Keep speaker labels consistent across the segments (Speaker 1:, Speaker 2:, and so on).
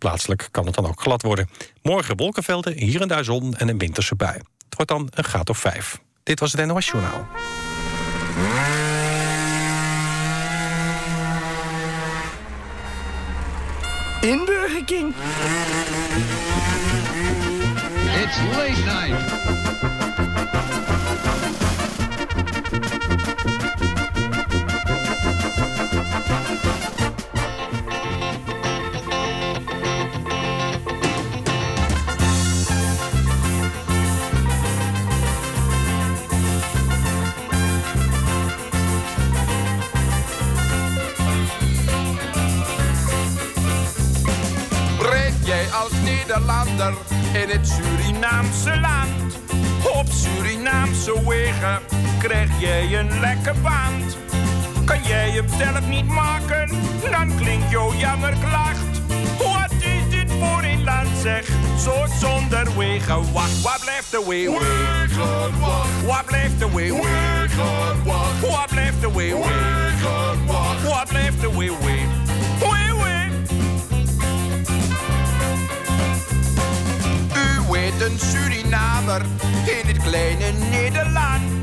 Speaker 1: Plaatselijk kan het dan ook glad worden. Morgen wolkenvelden, hier en daar zon en een winterse bui. Het wordt dan een graad of vijf. Dit was het NOS Journaal.
Speaker 2: In Burger King.
Speaker 3: It's late night.
Speaker 4: Breek jij als Nederlander in het Surinaamse land? Op Surinaamse wegen krijg jij een lekker band. Kan jij hem zelf niet maken, dan klinkt jouw jammerklacht. Wat is dit voor een land, zeg? Zo zonder wegen, wacht, wat blijft de wee Wegen, wacht. Wat blijft de wee Wegen, wacht. Wat blijft de wee Wegen, wacht. Wat blijft de wee wee? Wee wee. U weet een Surinamer in het kleine Nederland.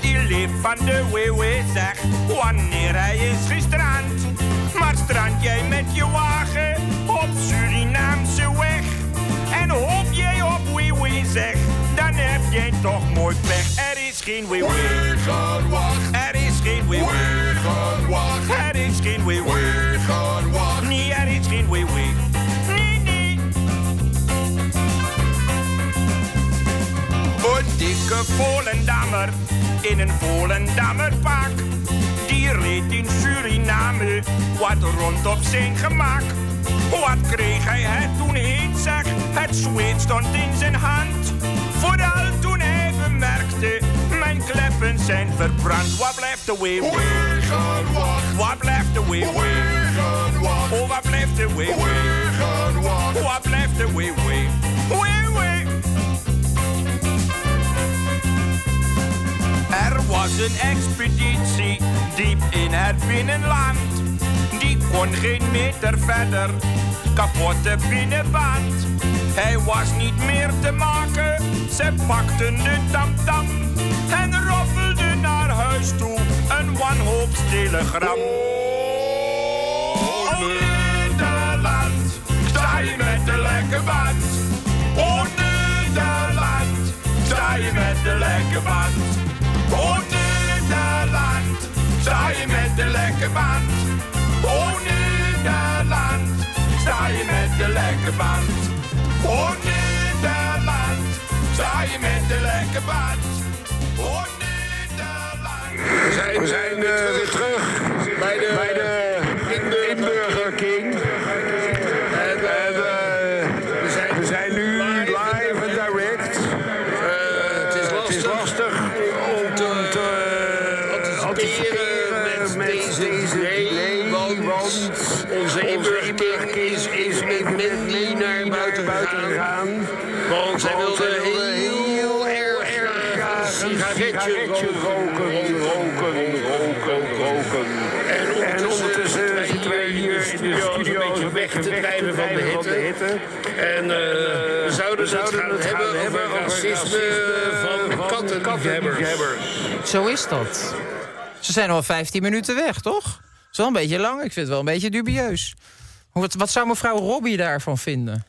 Speaker 4: Die leeft van de wewe, zeg, wanneer hij is gestrand. Maar strand jij met je wagen op Surinaamse weg. En hoop jij op wewe, zeg, dan heb jij toch mooi pech. Er is geen wewe. Er is geen wewe. Er is geen wewe. Nee, er is geen wewe. Nee, nee. Een dikke Volendammer in een Volendammer pak. Die reed in Suriname wat rond op zijn gemak. Wat kreeg hij het toen heet, zeg. Het zweet stond in zijn hand. Vooral toen hij bemerkte, mijn kleppen zijn verbrand. Wat blijft de wee? Wat blijft de wee? Oh, wat blijft de wee? Wat blijft de wee? Wee, wee. Er was een expeditie diep in het binnenland. Die kon geen meter verder, kapotte binnenband. Hij was niet meer te maken, ze pakten de tamtam. En roffelden naar huis toe, een wanhoopstelegram. Oh, Nederland, sta je met de lekke band. Oh, Nederland, sta je met de lekke band. Oh Nederland, sta je met de lekke band. Oh Nederland, sta je met de lekke band. Oh Nederland, sta je met de lekke band. Oh Nederland.
Speaker 5: We zijn eh, weer terug bij de, bij de Inburger King. En eh, we, zijn, we zijn nu live en direct. Eh, het, is lastig om te, eh, anticiperen met, deze delay, want, onze Inburger King is, is even met niet naar buiten, gegaan. Want zij wilde heel erg graag een sigaretje roken, roken, roken, roken. En ondertussen zitten wij hier in de studio weg te blijven van de hitte. En eh, we zouden het gaan hebben over racisme van katten- kattenliefhebbers.
Speaker 6: Zo is dat. Ze zijn al 15 minuten weg, toch? Dat is wel een beetje lang. Ik vind het wel een beetje dubieus. Hoe- Wat, wat zou mevrouw Robbie daarvan vinden?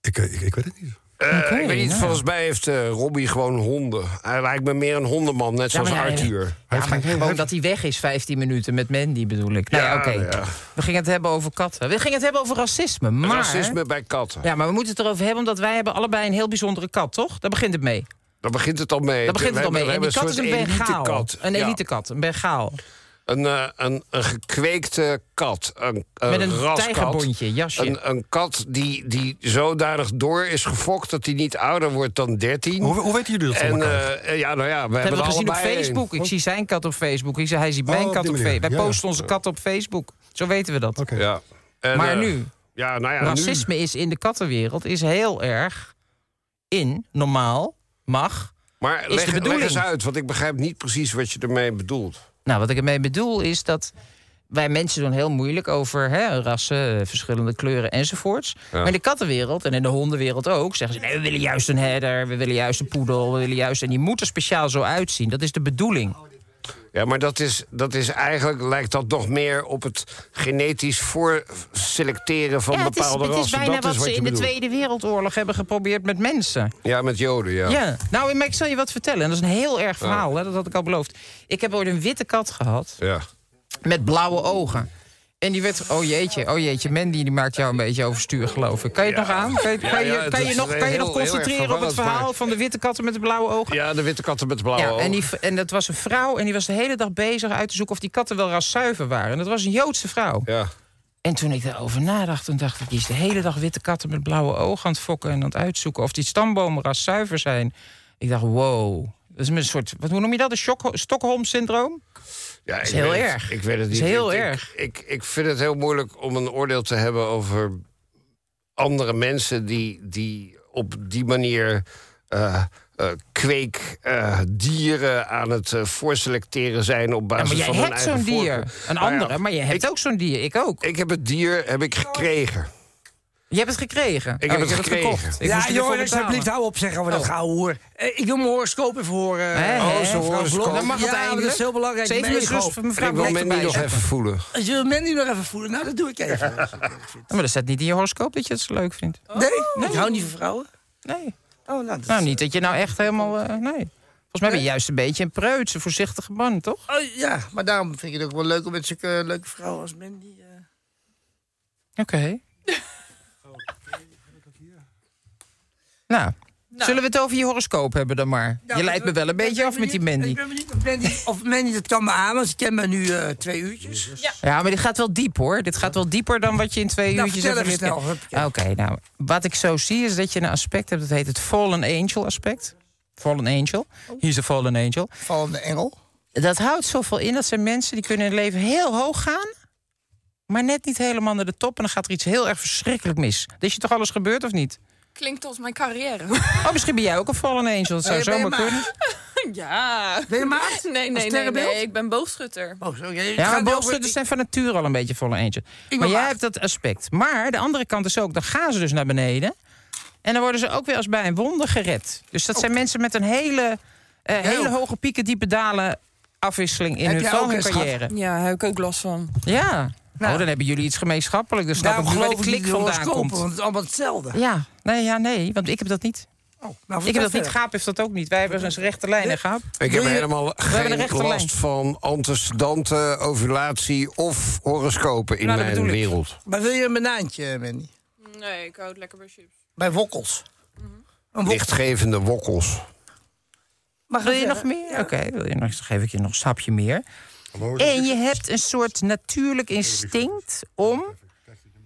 Speaker 7: Ik, eh, ik, ik weet het niet.
Speaker 5: Eh, ik weet niet,
Speaker 6: ja.
Speaker 5: volgens mij heeft eh Robbie gewoon honden. Hij lijkt me meer een hondenman, net zoals
Speaker 6: maar ja,
Speaker 5: Arthur.
Speaker 6: Ja,
Speaker 7: heeft
Speaker 6: maar
Speaker 7: geen- hij
Speaker 6: gewoon
Speaker 7: heeft-
Speaker 6: dat hij weg is 15 minuten met Mandy bedoel ik. Nou ja,
Speaker 5: Ja,
Speaker 6: oké.
Speaker 5: ja.
Speaker 6: We gingen het hebben over katten. We gingen het hebben over racisme, maar...
Speaker 5: Racisme bij katten.
Speaker 6: Ja, maar we moeten het erover hebben, omdat wij hebben allebei een heel bijzondere kat, toch? Daar begint het mee.
Speaker 5: Daar begint het al mee.
Speaker 6: Daar begint het al mee. En die kat is een Bengaal. Een elite
Speaker 5: elite
Speaker 6: kat, een Bengaal.
Speaker 5: Een, eh, een, een gekweekte kat. Een, een
Speaker 6: Met een
Speaker 5: raskat.
Speaker 6: tijgerbondje, jasje.
Speaker 5: Een, een kat die, die zodanig door is gefokt dat hij niet ouder wordt dan 13.
Speaker 7: Hoe, hoe weten jullie dat
Speaker 5: en
Speaker 7: van elkaar?
Speaker 5: eh, ja, nou ja, we
Speaker 6: Dat
Speaker 5: hebben
Speaker 6: hebben
Speaker 5: er
Speaker 6: we gezien op
Speaker 5: allebei een.
Speaker 6: Facebook. Ik zie zijn kat op Facebook. Ik zie, hij ziet
Speaker 7: Oh,
Speaker 6: mijn
Speaker 7: op
Speaker 6: kat
Speaker 7: die
Speaker 6: op
Speaker 7: manier.
Speaker 6: Facebook. Wij
Speaker 7: Ja, ja.
Speaker 6: posten onze kat op Facebook. Zo weten we dat.
Speaker 7: Oké.
Speaker 5: Ja. En,
Speaker 6: Maar
Speaker 5: eh,
Speaker 6: nu,
Speaker 5: Ja,
Speaker 8: Ah
Speaker 5: nou ja, nu.
Speaker 6: racisme is in de kattenwereld is heel erg in, normaal, mag.
Speaker 5: Maar
Speaker 6: de
Speaker 5: leg, leg
Speaker 6: bedoeling.
Speaker 5: eens uit, want ik begrijp niet precies wat je ermee bedoelt.
Speaker 6: Nou, wat ik ermee bedoel is dat wij mensen doen heel moeilijk over hè, rassen, eh, verschillende kleuren enzovoorts. Maar in de kattenwereld en in de hondenwereld ook zeggen ze: nee, we willen juist een herder, we willen juist een poedel, we willen juist. En die moet er speciaal zo uitzien. Dat is de bedoeling.
Speaker 8: Ja, maar dat is, dat is eigenlijk, lijkt dat nog meer op het genetisch voorselecteren van
Speaker 6: ja, het is,
Speaker 8: bepaalde
Speaker 6: het is
Speaker 8: rassen.
Speaker 6: bijna
Speaker 8: dat
Speaker 6: wat
Speaker 8: is wat
Speaker 6: ze
Speaker 8: je
Speaker 6: in de
Speaker 8: bedoelt.
Speaker 6: Tweede Wereldoorlog hebben geprobeerd met mensen.
Speaker 8: Ja, met joden, ja. Oh.
Speaker 6: Ja, nou, maar ik zal je wat vertellen. En dat is een heel erg verhaal, hè? dat had ik al beloofd. Ik heb ooit een witte kat gehad
Speaker 8: Ja.
Speaker 6: met blauwe ogen. En die werd, oh jeetje, oh jeetje, Mandy die maakt jou een beetje overstuur, geloof ik. Kan je het nog aan? Kan je, kan
Speaker 8: ja,
Speaker 6: je,
Speaker 8: dat
Speaker 6: kan je
Speaker 8: is
Speaker 6: nog,
Speaker 8: een
Speaker 6: kan je
Speaker 8: heel-
Speaker 6: nog
Speaker 8: heel erg
Speaker 6: concentreren op het
Speaker 8: verwarrend,
Speaker 6: verhaal
Speaker 8: maar-
Speaker 6: van de witte katten met de blauwe ogen?
Speaker 8: ja, de witte katten met blauwe
Speaker 6: Ja, en,
Speaker 8: ogen.
Speaker 6: die, en dat was een vrouw en die was de hele dag bezig uit te zoeken of die katten wel raszuiver waren. En dat was een Joodse vrouw.
Speaker 8: Ja.
Speaker 6: En toen ik daarover nadacht, toen dacht ik... die is de hele dag witte katten met blauwe ogen aan het fokken... en aan het uitzoeken of die stambomen raszuiver zijn. Ik dacht, wow. Dat is een soort, wat, hoe noem je dat? Een shock- Stockholm-syndroom?
Speaker 8: Ja, dat
Speaker 6: is heel erg.
Speaker 8: Ik weet het
Speaker 6: Dat
Speaker 8: niet.
Speaker 6: is heel
Speaker 8: Ik- ik-
Speaker 6: erg.
Speaker 8: Ik, ik, vind het heel moeilijk om een oordeel te hebben over andere mensen die, die op die manier eh, eh, kweek eh, dieren aan het eh, voorselecteren zijn op
Speaker 6: Ja,
Speaker 8: basis
Speaker 6: maar jij
Speaker 8: van hun
Speaker 6: hebt
Speaker 8: eigen
Speaker 6: zo'n dier.
Speaker 8: voorkeur.
Speaker 6: Een
Speaker 8: Nou ja,
Speaker 6: andere, maar je hebt ook zo'n dier. Ik ook.
Speaker 8: Ik heb het dier heb ik gekregen.
Speaker 6: Je hebt het gekregen. Oh,
Speaker 8: heb Oh, het gekregen.
Speaker 6: gekocht. Ik moest
Speaker 2: Ja,
Speaker 6: ervoor
Speaker 2: jongen,
Speaker 6: betalen.
Speaker 2: alsjeblieft, hou op zeggen
Speaker 6: Oh.
Speaker 2: over dat gouden hoer. Eh, Ik wil mijn horoscoop even horen.
Speaker 6: Hè,
Speaker 2: eh,
Speaker 6: hè,
Speaker 2: mevrouw
Speaker 6: zo'n
Speaker 8: horoscoop.
Speaker 2: Blok.
Speaker 6: Dan mag het
Speaker 2: Ja, maar dat
Speaker 6: eindelijk.
Speaker 2: is heel belangrijk.
Speaker 6: Zeven
Speaker 2: Mijn
Speaker 6: minuten rust
Speaker 2: horoscoop.
Speaker 6: voor mevrouw
Speaker 8: Ik wil
Speaker 6: Blok
Speaker 8: Mandy
Speaker 6: erbij
Speaker 8: nog
Speaker 6: zetten.
Speaker 8: even voelen.
Speaker 2: Als je wil Mandy nog even voelen, nou, dat doe ik even.
Speaker 6: Ja, Maar dat staat niet in je horoscoop dat je het zo leuk vindt.
Speaker 2: Nee? Ik hou niet van vrouwen.
Speaker 6: Nee.
Speaker 2: Oh, nou, dat
Speaker 6: Nou, niet dat je nou echt helemaal... eh, nee. Volgens mij ben je juist een beetje een preuts, een voorzichtige man, toch?
Speaker 2: Oh, ja, maar daarom vind ik het ook wel leuk om met zulke eh, leuke vrouwen als Mandy... eh,
Speaker 6: Oké. Nou, zullen we het over je horoscoop hebben dan maar?
Speaker 2: Nou,
Speaker 6: je leidt me wel een
Speaker 2: ik ben
Speaker 6: beetje af met die
Speaker 2: benieuwd-
Speaker 6: Mandy.
Speaker 2: Ik ben benieuwd of Mandy, of Mandy dat kan me aan, want ze kent me nu eh, twee uurtjes.
Speaker 6: Ja, maar dit gaat wel diep hoor. Dit gaat wel dieper dan wat je in twee
Speaker 2: Nou,
Speaker 6: uurtjes
Speaker 2: vertel
Speaker 6: even-
Speaker 2: even snel, hup.
Speaker 6: Oké, nou, wat ik zo zie is dat je een aspect hebt, dat heet het fallen angel aspect. Fallen angel. Hier is een fallen angel.
Speaker 2: Van de engel.
Speaker 6: Dat houdt zoveel in, dat zijn mensen die kunnen in het leven heel hoog gaan... maar net niet helemaal naar de top en dan gaat er iets heel erg verschrikkelijk mis. Dat is je toch alles gebeurd of niet?
Speaker 9: Klinkt als mijn carrière.
Speaker 6: Oh, misschien ben jij ook een fallen angel, dat zou
Speaker 9: Oh,
Speaker 2: Eh, ben je
Speaker 6: zomaar
Speaker 2: maar-
Speaker 6: kunnen.
Speaker 9: ja.
Speaker 2: Ben je maagd?
Speaker 9: Nee,
Speaker 2: Als
Speaker 9: nee, nee,
Speaker 2: sterrenbeeld?
Speaker 9: nee. Ik ben boogschutter.
Speaker 2: Oh, zo, ja,
Speaker 6: Ja, maar boogschutters zijn van nature al een beetje volle eentje.
Speaker 2: ben
Speaker 6: Maar jij
Speaker 2: maagd.
Speaker 6: hebt dat aspect. Maar de andere kant is ook, dan gaan ze dus naar beneden. En dan worden ze ook weer als bij een wonder gered. Dus dat zijn mensen met een hele, eh, hele hoge pieken, diepe dalen afwisseling in
Speaker 2: Heb
Speaker 6: hun
Speaker 2: jij ook eens
Speaker 6: carrière.
Speaker 9: Ja, daar heb ik ook last van.
Speaker 6: Ja. Nou, dan hebben jullie iets gemeenschappelijk. Dus snap ik
Speaker 2: Daarom
Speaker 6: niet waar de
Speaker 2: Nou, geloof ik
Speaker 6: klik
Speaker 2: niet in
Speaker 6: vandaan komt.
Speaker 2: horoscopen, want het is allemaal hetzelfde.
Speaker 6: Ja, nee, ja, nee, want ik heb dat niet.
Speaker 2: Nou,
Speaker 6: Ik heb dat
Speaker 2: vertel
Speaker 6: niet. Gaap heeft dat ook niet. Wij hebben een rechte lijn, hè, Gaap?
Speaker 8: Ik heb helemaal
Speaker 6: hebben een
Speaker 8: geen
Speaker 6: rechte lijn.
Speaker 8: last van antecedenten, ovulatie of horoscopen in
Speaker 6: Nou, dat
Speaker 8: mijn
Speaker 6: bedoel ik.
Speaker 8: wereld.
Speaker 2: Maar wil je een banaantje, eh, Mandy?
Speaker 9: Nee, ik houd Oh, lekker bij chips.
Speaker 2: Bij wokkels. Een wokkel.
Speaker 8: Lichtgevende wokkels.
Speaker 2: Mag
Speaker 6: Wil je nog meer? Oké, wil je nog- dan geef ik je nog een sapje meer. En je hebt een soort natuurlijk instinct om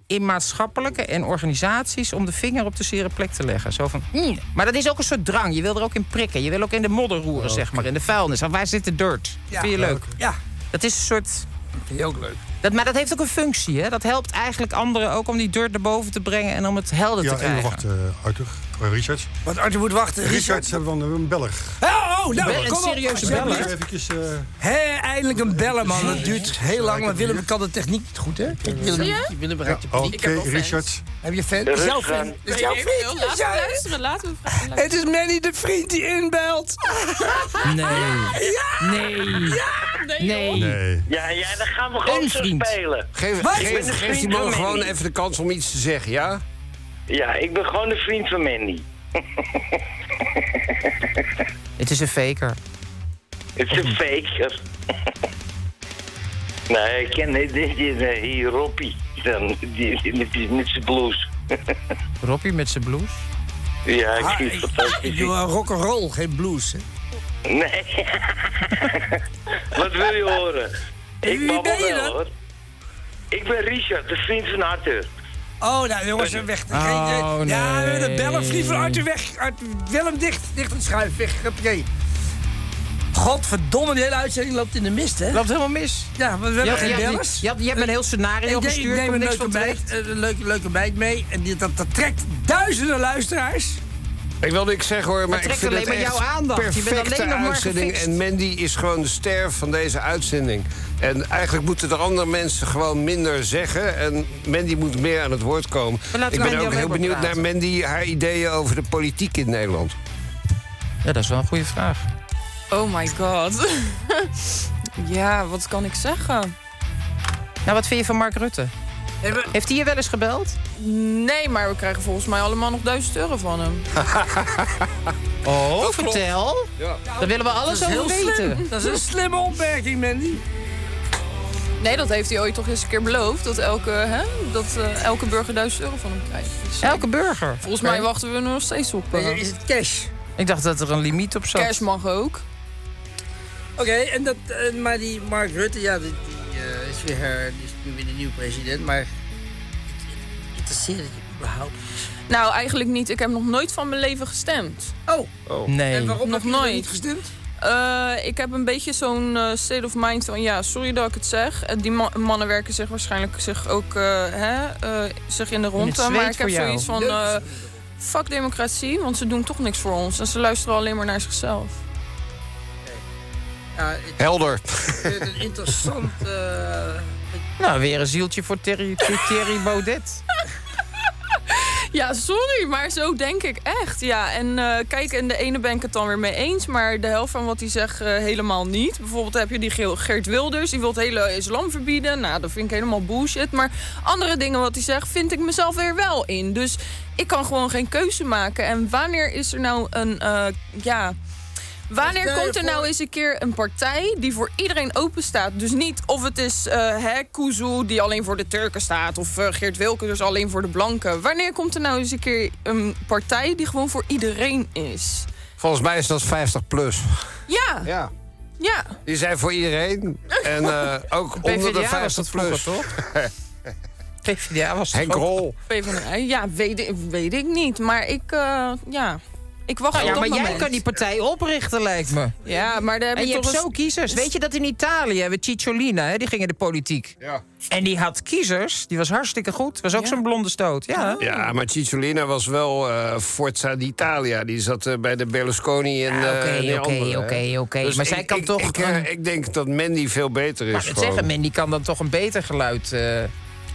Speaker 6: in maatschappelijke en organisaties om de vinger op de zere plek te leggen. Zo van, "Mm." Maar dat is ook een soort drang. Je wil er ook in prikken. Je wil ook in de modder roeren, zeg maar. In de vuilnis. Want Waar zit de dirt?
Speaker 2: Ja.
Speaker 6: Vind je leuk?
Speaker 2: Ja,
Speaker 6: Dat is een soort...
Speaker 2: vind je ook leuk.
Speaker 6: Dat, maar dat heeft ook een functie, hè? Dat helpt eigenlijk anderen ook om die dirt naar boven te brengen en om het helder te
Speaker 7: Ja,
Speaker 6: krijgen.
Speaker 7: even wachten, eh, Arthur. Eh, Richards.
Speaker 2: Want Arthur moet wachten. Richard.
Speaker 7: Richards hebben we dan een Belg.
Speaker 2: Oh, oh,
Speaker 6: Wel
Speaker 2: nou,
Speaker 6: een
Speaker 2: kom op. Oh,
Speaker 6: serieuze
Speaker 2: Alsjeblieft.
Speaker 6: beller.
Speaker 7: Eventjes, eh,
Speaker 2: Hé, eindelijk een bellen, man. Dat duurt heel lang, maar Willem kan de techniek niet goed, hè? Ik wil hem niet. Willem bereikt de paniek.
Speaker 7: Oké, Richards.
Speaker 2: Heb je fan? Dat is jouw fan. Dat is jouw vriend. Dat is
Speaker 9: Laten we
Speaker 2: jouw-
Speaker 9: luisteren, laten we vragen.
Speaker 2: Het is Manny de vriend die inbelt.
Speaker 6: Nee. Nee. Nee.
Speaker 7: Nee.
Speaker 10: Ja, ja, dan gaan we gewoon
Speaker 6: Een
Speaker 10: zo
Speaker 6: vriend.
Speaker 10: spelen.
Speaker 8: Geef,
Speaker 2: Wij zijn de
Speaker 8: geef, geef die man
Speaker 10: vrienden,
Speaker 8: gewoon
Speaker 10: Mandy.
Speaker 8: even de kans om iets te zeggen, ja?
Speaker 10: Ja, ik ben gewoon een vriend van Mandy.
Speaker 6: Het is een faker.
Speaker 10: Het is een fake. nee, ik ken dit, dit, dit eh, hier Roppie. Dan, die, die- die- met zijn blues.
Speaker 6: Robbie met zijn blouse.
Speaker 10: Ja, ik
Speaker 2: Ah,
Speaker 10: vind
Speaker 2: ik-
Speaker 10: het fantastisch.
Speaker 2: Ik doe eh, rock'n'roll, geen blues, hè?
Speaker 10: Nee. Wat wil je horen?
Speaker 2: Wie
Speaker 10: Ik babbel
Speaker 2: ben je
Speaker 10: wel,
Speaker 2: dan?
Speaker 10: hoor. Ik ben Richard, de vriend van Arthur.
Speaker 2: Oh, nou jongens, weg. Geen- eh,
Speaker 6: Oh,
Speaker 2: Ja,
Speaker 6: nee.
Speaker 2: de bellen vliegen van Arthur weg. Arthur, Willem dicht, dicht het schuif, weg. Huppakee. Godverdomme, de hele uitzending loopt in de mist, hè?
Speaker 6: Loopt helemaal mis.
Speaker 2: Ja, maar we
Speaker 6: Je,
Speaker 2: hebben
Speaker 6: had- je,
Speaker 2: geen
Speaker 6: had-
Speaker 2: bellers.
Speaker 6: je had- je hebt een heel scenario
Speaker 2: Ik neem-
Speaker 6: gestuurd.
Speaker 2: Ik
Speaker 6: komt
Speaker 2: neem een
Speaker 6: niks
Speaker 2: leuke
Speaker 6: van terecht.
Speaker 2: meid, een leuke, leuke meid mee. En die, dat, dat trekt duizenden luisteraars.
Speaker 8: Ik wil niks zeggen hoor, maar ik
Speaker 6: trekt
Speaker 8: vind
Speaker 6: alleen
Speaker 8: het
Speaker 6: maar jouw
Speaker 8: echt
Speaker 6: aandacht. Je bent
Speaker 8: perfecte
Speaker 6: alleen nog maar
Speaker 8: uitzending.
Speaker 6: gefixt.
Speaker 8: En Mandy is gewoon de ster van deze uitzending. En eigenlijk moeten er andere mensen gewoon minder zeggen. En Mandy moet meer aan het woord komen.
Speaker 6: We laten
Speaker 8: Ik ben
Speaker 6: Mandy
Speaker 8: ook
Speaker 6: alleen
Speaker 8: heel
Speaker 6: maar
Speaker 8: benieuwd
Speaker 6: praten.
Speaker 8: naar Mandy, haar ideeën over de politiek in Nederland.
Speaker 6: Ja, dat is wel een goede vraag.
Speaker 9: Oh my god. ja, wat kan ik zeggen?
Speaker 6: Nou, wat vind je van Mark Rutte? Heeft hij je wel eens gebeld?
Speaker 9: Nee, maar we krijgen volgens mij allemaal nog 1000 euro van hem.
Speaker 6: Oh, vertel.
Speaker 8: Ja.
Speaker 6: Daar willen we alles over weten.
Speaker 2: Dat is een slimme opmerking, Mandy.
Speaker 9: Nee, dat heeft hij ooit toch eens een keer beloofd. Dat elke, hè, dat, eh, elke burger 1000 euro van hem krijgt. Dus, eh,
Speaker 6: Elke burger.
Speaker 9: volgens mij wachten we er nog steeds op. eh.
Speaker 2: Is het cash?
Speaker 6: Ik dacht dat er een limiet op zat.
Speaker 9: Kerst mag ook.
Speaker 2: Oké, en dat, eh, maar die Mark Rutte, ja, die, die, eh, is, weer, eh, die is nu weer de nieuwe president, maar het- het interesseert het je überhaupt?
Speaker 9: Nou, eigenlijk niet. Ik heb nog nooit van mijn leven gestemd.
Speaker 2: Oh, en
Speaker 6: Nee.
Speaker 2: waarom
Speaker 9: Nog
Speaker 2: heb je er
Speaker 9: nooit.
Speaker 2: niet gestemd?
Speaker 9: Eh, ik heb een beetje zo'n eh, state of mind van... ja, sorry dat ik het zeg. Eh, die ma- mannen werken zich waarschijnlijk zich ook eh, hè, eh, zich in de rondte.
Speaker 6: zweet
Speaker 9: maar ik
Speaker 6: voor
Speaker 9: heb
Speaker 6: jou.
Speaker 9: zoiets van...
Speaker 2: Leuk.
Speaker 9: eh, fuck democratie, want ze doen toch niks voor ons. En ze luisteren alleen maar naar zichzelf.
Speaker 2: Ja, ik
Speaker 8: Helder.
Speaker 2: vind het een interessant... eh,
Speaker 6: Nou, weer een zieltje voor Thierry, voor Thierry Baudet.
Speaker 9: Ja, sorry, maar zo denk ik echt. Ja, en eh, kijk, en de ene ben ik het dan weer mee eens... maar de helft van wat hij zegt eh, helemaal niet. Bijvoorbeeld heb je die Ge- Geert Wilders, die wil het hele islam verbieden. Nou, dat vind ik helemaal bullshit. Maar andere dingen wat hij zegt, vind ik mezelf weer wel in. Dus ik kan gewoon geen keuze maken. En wanneer is er nou een, eh, ja... Wanneer
Speaker 2: Stel je
Speaker 9: komt er
Speaker 2: voor-
Speaker 9: nou eens een keer een partij die voor iedereen open staat? Dus niet of het is eh hè, Kuzu die alleen voor de Turken staat... of eh, Geert Wilkers alleen voor de blanken. Wanneer komt er nou eens een keer een partij die gewoon voor iedereen is?
Speaker 8: Volgens mij is dat 50 plus.
Speaker 9: Ja, ja.
Speaker 8: Ja. Die zijn voor iedereen. En eh, ook onder de
Speaker 6: PvdA was
Speaker 8: 50
Speaker 6: dat vroeger,
Speaker 8: plus.
Speaker 6: toch? PvdA was het
Speaker 8: Henk
Speaker 6: ook.
Speaker 8: Rol.
Speaker 9: PvdA, ja, weet, ik- weet ik niet. Maar ik, eh, ja, ik wacht
Speaker 6: Nou
Speaker 9: op
Speaker 6: ja,
Speaker 9: dat
Speaker 6: maar jij
Speaker 9: moment.
Speaker 6: kan die partij oprichten, lijkt me.
Speaker 9: Ja, maar daar heb
Speaker 6: En je
Speaker 9: je
Speaker 6: hebt
Speaker 9: toch
Speaker 6: zo
Speaker 9: eens-
Speaker 6: kiezers. Weet je dat in Italië hebben Cicciolina, hè, die ging in de politiek.
Speaker 8: Ja.
Speaker 6: En die had kiezers, die was hartstikke goed. Was ook zo'n blonde stoot. Ja.
Speaker 8: Ja, maar Cicciolina was wel eh, Forza d'Italia. Die zat eh, bij de Berlusconi en
Speaker 6: Ja, Ah, oké,
Speaker 8: eh, en die
Speaker 6: oké,
Speaker 8: anderen, hè.
Speaker 6: oké, oké. Maar zij kan
Speaker 8: ik,
Speaker 6: toch
Speaker 8: Ik, eh,
Speaker 6: een-
Speaker 8: ik denk dat Mandy veel beter
Speaker 6: Maar
Speaker 8: is.
Speaker 6: het
Speaker 8: gewoon.
Speaker 6: zeggen, Mandy kan dan toch een beter geluid eh,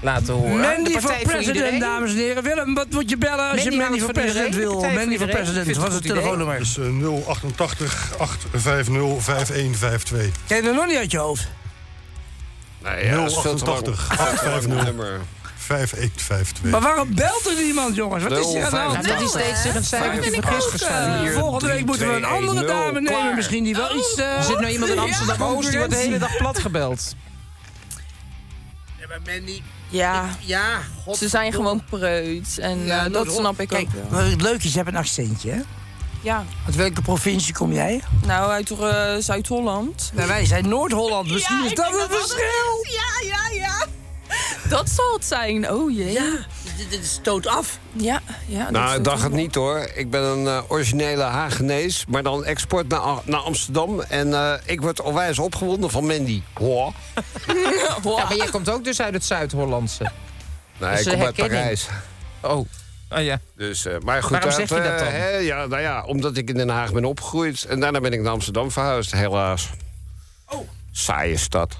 Speaker 6: laten horen.
Speaker 2: Mandy
Speaker 6: De
Speaker 2: voor
Speaker 6: Partij
Speaker 2: president,
Speaker 6: Iedereen.
Speaker 2: dames en heren. Willem, wat moet je bellen als
Speaker 6: Mandy
Speaker 2: je Mandy
Speaker 6: houdt
Speaker 2: voor
Speaker 6: van
Speaker 2: president
Speaker 6: iedereen,
Speaker 2: wil?
Speaker 6: Partij voor
Speaker 2: Mandy voor
Speaker 6: iedereen. Ik
Speaker 2: president,
Speaker 6: vind het
Speaker 2: wat is het
Speaker 6: een goed idee.
Speaker 2: telefoonnummer?
Speaker 7: Dus eh, 088 850 5152.
Speaker 2: Ken je dat nog niet uit je hoofd?
Speaker 8: Nee, Nou ja, dat is veel te lang.
Speaker 7: 088,
Speaker 8: Dat is wel een
Speaker 7: 850.
Speaker 8: nummer.
Speaker 7: 5152.
Speaker 2: Maar waarom belt er niemand, jongens? Wat is er aan de hand?
Speaker 6: Nou, dat is steeds zich een cijfertje
Speaker 9: vind ik
Speaker 6: vergist
Speaker 9: ook,
Speaker 6: gestaan.
Speaker 9: eh,
Speaker 8: Vier,
Speaker 2: Volgende week
Speaker 8: drie,
Speaker 2: moeten we een
Speaker 8: twee,
Speaker 2: andere
Speaker 8: één,
Speaker 2: dame
Speaker 8: nul.
Speaker 2: nemen,
Speaker 8: Klaar.
Speaker 2: misschien die wel iets... eh,
Speaker 6: Er zit nou iemand in Amsterdam-Oost, die wordt de hele dag plat gebeld.
Speaker 2: Ja, maar Mandy,
Speaker 9: Ja,
Speaker 2: ja, god.
Speaker 9: ze zijn gewoon preuts. En
Speaker 2: Ja,
Speaker 9: eh, dat
Speaker 2: nou, daarom.
Speaker 9: snap ik
Speaker 2: Kijk,
Speaker 9: ook wel.
Speaker 2: wat het leuk is, je hebt een accentje, hè?
Speaker 9: Ja,
Speaker 2: Uit welke provincie kom jij?
Speaker 9: nou uit eh, Zuid-Holland.
Speaker 2: Nou, wij zijn Noord-Holland, misschien
Speaker 9: Ja,
Speaker 2: is
Speaker 9: ik
Speaker 2: dat
Speaker 9: denk
Speaker 2: een
Speaker 9: dat dat het
Speaker 2: verschil!
Speaker 9: Ja, ja, ja. Dat zal het zijn. Oh jee. Ja,
Speaker 2: Dit, dit stoot af.
Speaker 9: ja. dat is
Speaker 8: Nou, ik dacht het
Speaker 9: wel.
Speaker 8: niet hoor. Ik ben een eh, originele Hagenees, maar dan export naar, A- naar Amsterdam. En eh, ik word onwijs opgewonden van Mandy. Hoor.
Speaker 6: Ja, maar jij komt ook dus uit het Zuid-Hollandse.
Speaker 8: Nee,
Speaker 6: Dus,
Speaker 8: ik
Speaker 6: eh,
Speaker 8: kom uit
Speaker 6: herkenning.
Speaker 8: Parijs.
Speaker 6: Oh. Oh ja.
Speaker 8: Dus, eh, maar goed,
Speaker 6: Waarom
Speaker 8: dat,
Speaker 6: zeg je dat
Speaker 8: eh,
Speaker 6: dan?
Speaker 8: hè, ja, nou ja, omdat ik in Den Haag ben opgegroeid. En daarna ben ik naar Amsterdam verhuisd, helaas.
Speaker 2: Oh.
Speaker 8: Saaie stad.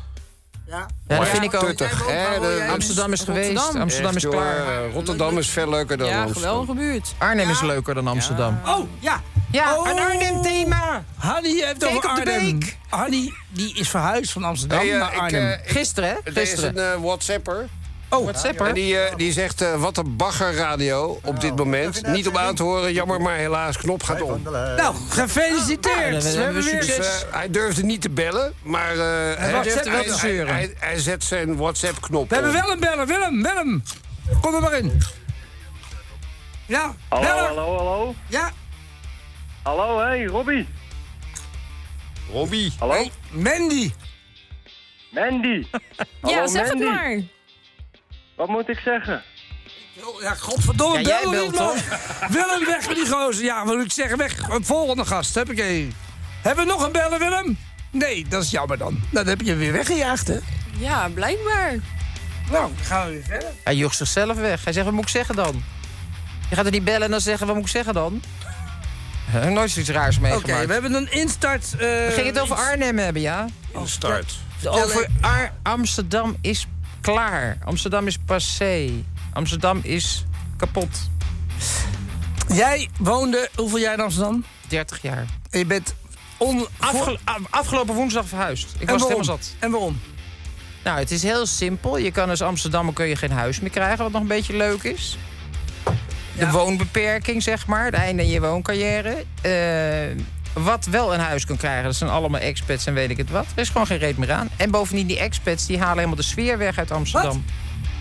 Speaker 2: Ja.
Speaker 6: ja, dat vind ik ook.
Speaker 8: Tuttig, hè, de-
Speaker 6: Amsterdam is geweest,
Speaker 9: Rotterdam.
Speaker 6: Amsterdam is
Speaker 8: Echt, joh,
Speaker 6: klaar.
Speaker 8: eh, Rotterdam is veel leuker dan
Speaker 9: Ja,
Speaker 8: Amsterdam.
Speaker 9: geweldige buurt.
Speaker 6: Arnhem is leuker dan Amsterdam.
Speaker 2: Oh, ja.
Speaker 6: Ja,
Speaker 2: Oh.
Speaker 6: een Arnhem-thema.
Speaker 2: Hanny heeft
Speaker 6: Kijk
Speaker 2: over
Speaker 6: op de
Speaker 2: Arnhem.
Speaker 6: beek.
Speaker 2: Hanny, die is verhuisd van Amsterdam
Speaker 8: Hey, eh,
Speaker 2: naar
Speaker 8: ik,
Speaker 2: Arnhem.
Speaker 8: eh, ik-
Speaker 6: Gisteren, hè?
Speaker 8: er is een
Speaker 6: Gisteren.
Speaker 8: eh, WhatsApper.
Speaker 6: Oh, WhatsApper.
Speaker 8: En die, eh, die zegt, eh, wat een baggerradio op
Speaker 2: Oh.
Speaker 8: dit moment. Niet om aan te horen, jammer, maar helaas, knop gaat om.
Speaker 2: Nou, gefeliciteerd.
Speaker 6: Nou, dan
Speaker 2: we hebben
Speaker 6: hebben we
Speaker 2: weer...
Speaker 8: Dus, eh, hij durfde niet te bellen, maar eh, hij,
Speaker 6: durfde wel
Speaker 8: hij-
Speaker 6: te
Speaker 8: hij,
Speaker 6: zeuren.
Speaker 8: hij- hij zet zijn WhatsApp-knop
Speaker 2: We hebben
Speaker 8: om.
Speaker 2: wel een beller. Willem, Willem. Kom er maar in. Ja,
Speaker 10: Hallo,
Speaker 2: beller.
Speaker 10: hallo, hallo.
Speaker 2: Ja,
Speaker 10: Hallo, hé, hey, Robbie.
Speaker 8: Robbie.
Speaker 10: Hallo,
Speaker 2: Mandy.
Speaker 10: Mandy.
Speaker 9: ja, zeg
Speaker 10: Mandy.
Speaker 9: het maar.
Speaker 10: Wat moet ik zeggen?
Speaker 2: Oh, Ja, godverdomme,
Speaker 6: Ja, jij
Speaker 2: bel hem niet,
Speaker 6: belt,
Speaker 2: man. Willem, weg met die gozer. Ja, wat moet ik zeggen, weg. Een Volgende gast, heb ik een. Hebben we nog een bellen, Willem? Nee, dat is jammer dan. Nou, Dan heb je hem weer weggejaagd, hè?
Speaker 9: Ja, blijkbaar.
Speaker 2: Nou, dan gaan we weer verder.
Speaker 6: Hij joeg zichzelf weg. Hij zegt, wat moet ik zeggen dan? Je gaat er niet bellen en dan zeggen, wat moet ik zeggen dan? Heb ik nooit zoiets raars meegemaakt.
Speaker 2: Oké, we hebben een instart... eh,
Speaker 6: Ging het over
Speaker 2: iets-
Speaker 6: Arnhem hebben, ja?
Speaker 8: Instart.
Speaker 6: Oh, Over Ar- Amsterdam is klaar. Amsterdam is passé. Amsterdam is kapot.
Speaker 2: Jij woonde hoeveel jaar in Amsterdam?
Speaker 6: 30 jaar.
Speaker 2: En je bent on... voor-
Speaker 6: Afge- af- afgelopen woensdag verhuisd. Ik was het
Speaker 2: waarom?
Speaker 6: helemaal zat.
Speaker 2: En waarom?
Speaker 6: Nou, het is heel simpel. Je kan als Amsterdammer kun je geen huis meer krijgen, wat nog een beetje leuk is. De
Speaker 2: Ja.
Speaker 6: woonbeperking, zeg maar. Het einde aan je wooncarrière. Eh, wat wel een huis kan krijgen, dat zijn allemaal expats en weet ik het wat. Er is gewoon geen reet meer aan. En bovendien, die expats die halen helemaal de sfeer weg uit Amsterdam.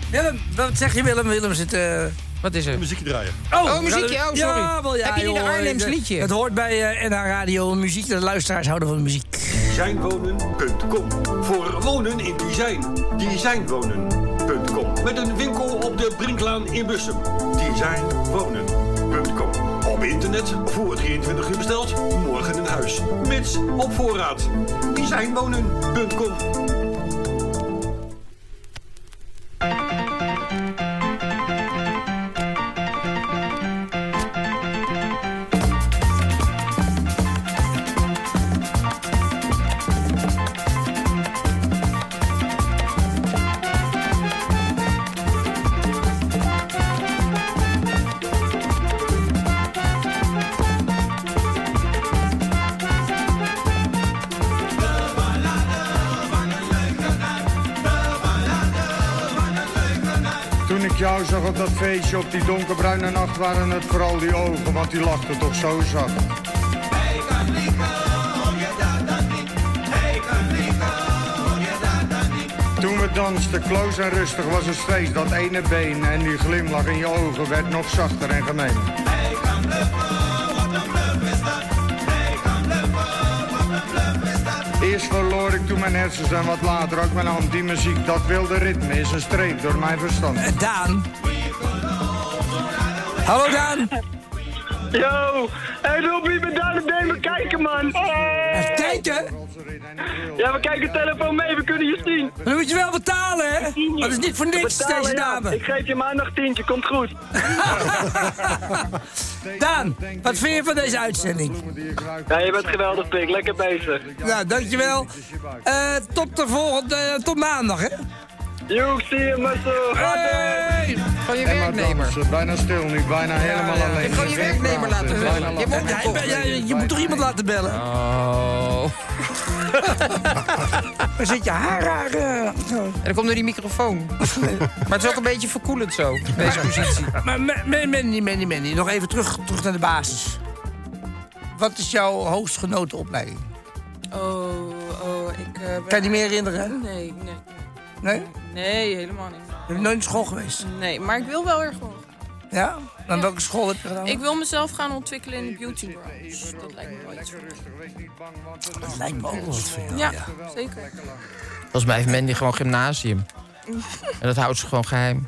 Speaker 2: Willem, wat zeg je Willem? Willem zit... eh,
Speaker 6: Wat, is er?
Speaker 7: Muziekje draaien.
Speaker 6: Oh, muziekje.
Speaker 2: ja,
Speaker 6: Oh, sorry.
Speaker 2: Ja, wel, ja,
Speaker 6: Heb je niet een
Speaker 2: joh,
Speaker 6: Arnhems
Speaker 2: eh,
Speaker 6: liedje?
Speaker 2: Het hoort bij eh, NH Radio muziek. De luisteraars houden van muziek.
Speaker 11: Zijnwonen.com voor wonen in design. Designwonen.com met een winkel op de Brinklaan in Bussum. Designwonen.com op internet voor 23 uur besteld, morgen in huis. Mits op voorraad. Designwonen.com
Speaker 12: Toen ik jou zag op dat feestje op die donkerbruine nacht waren het vooral die ogen, want die lachten toch zo zacht. Toen we dansten, kloos en rustig was het feest, dat ene been en die glimlach in je ogen werd nog zachter en gemeen. Eerst verloor ik toen mijn hersens en wat later ook mijn hand. Die muziek, dat wilde ritme, is een streep door mijn verstand.
Speaker 2: Eh, Daan. Hallo Daan.
Speaker 13: Yo, hey Robbie, ben daar en me kijken, man.
Speaker 2: Kijken?
Speaker 13: Ja, we kijken telefoon mee, we kunnen je zien.
Speaker 2: Dan moet je wel betalen, hè? Want het is niet voor niks,
Speaker 13: Betalen,
Speaker 2: deze
Speaker 13: ja.
Speaker 2: dame.
Speaker 13: Ik geef je maandag tientje, komt goed.
Speaker 2: Daan, wat vind je van deze uitzending?
Speaker 13: Ja, je bent geweldig, pik. Lekker bezig.
Speaker 2: Nou, dankjewel. Eh, tot de volgende, eh, tot maandag, hè?
Speaker 13: Joek, zie je, muscle.
Speaker 2: Hey!
Speaker 6: Van je
Speaker 12: En maar dansen, eh, bijna stil nu, bijna helemaal alleen.
Speaker 6: Gewoon je werknemer laten
Speaker 12: Bijna
Speaker 6: bellen.
Speaker 12: alleen.
Speaker 6: Je moet
Speaker 2: Ja, ik ben- ja, je moet toch iemand laten bellen?
Speaker 6: Oh.
Speaker 2: Dan zit je haar raar. eh, zo.
Speaker 6: En dan komt door die microfoon. maar het is ook een beetje verkoelend zo, deze positie.
Speaker 2: Maar Ma- Ma- Mandy, Mandy, Mandy, nog even terug, terug naar de basis. Wat is jouw hoogst genoten opleiding?
Speaker 9: Oh, oh, ik... eh, ben-
Speaker 2: Kan je die meer herinneren, hè?
Speaker 9: Nee, nee.
Speaker 2: Nee?
Speaker 9: Nee, helemaal niet.
Speaker 2: Je bent nooit naar school geweest?
Speaker 9: Nee, maar ik wil wel erg gewoon.
Speaker 2: Ja? Aan welke school heb je gedaan?
Speaker 9: Ik wil mezelf gaan ontwikkelen in de beauty branche. Dat lijkt me wel iets voor mij.
Speaker 2: Dat lijkt me ook wel wat voor jou.
Speaker 9: Ja, zeker.
Speaker 6: Volgens mij heeft Mandy gewoon gymnasium. En dat houdt ze gewoon geheim.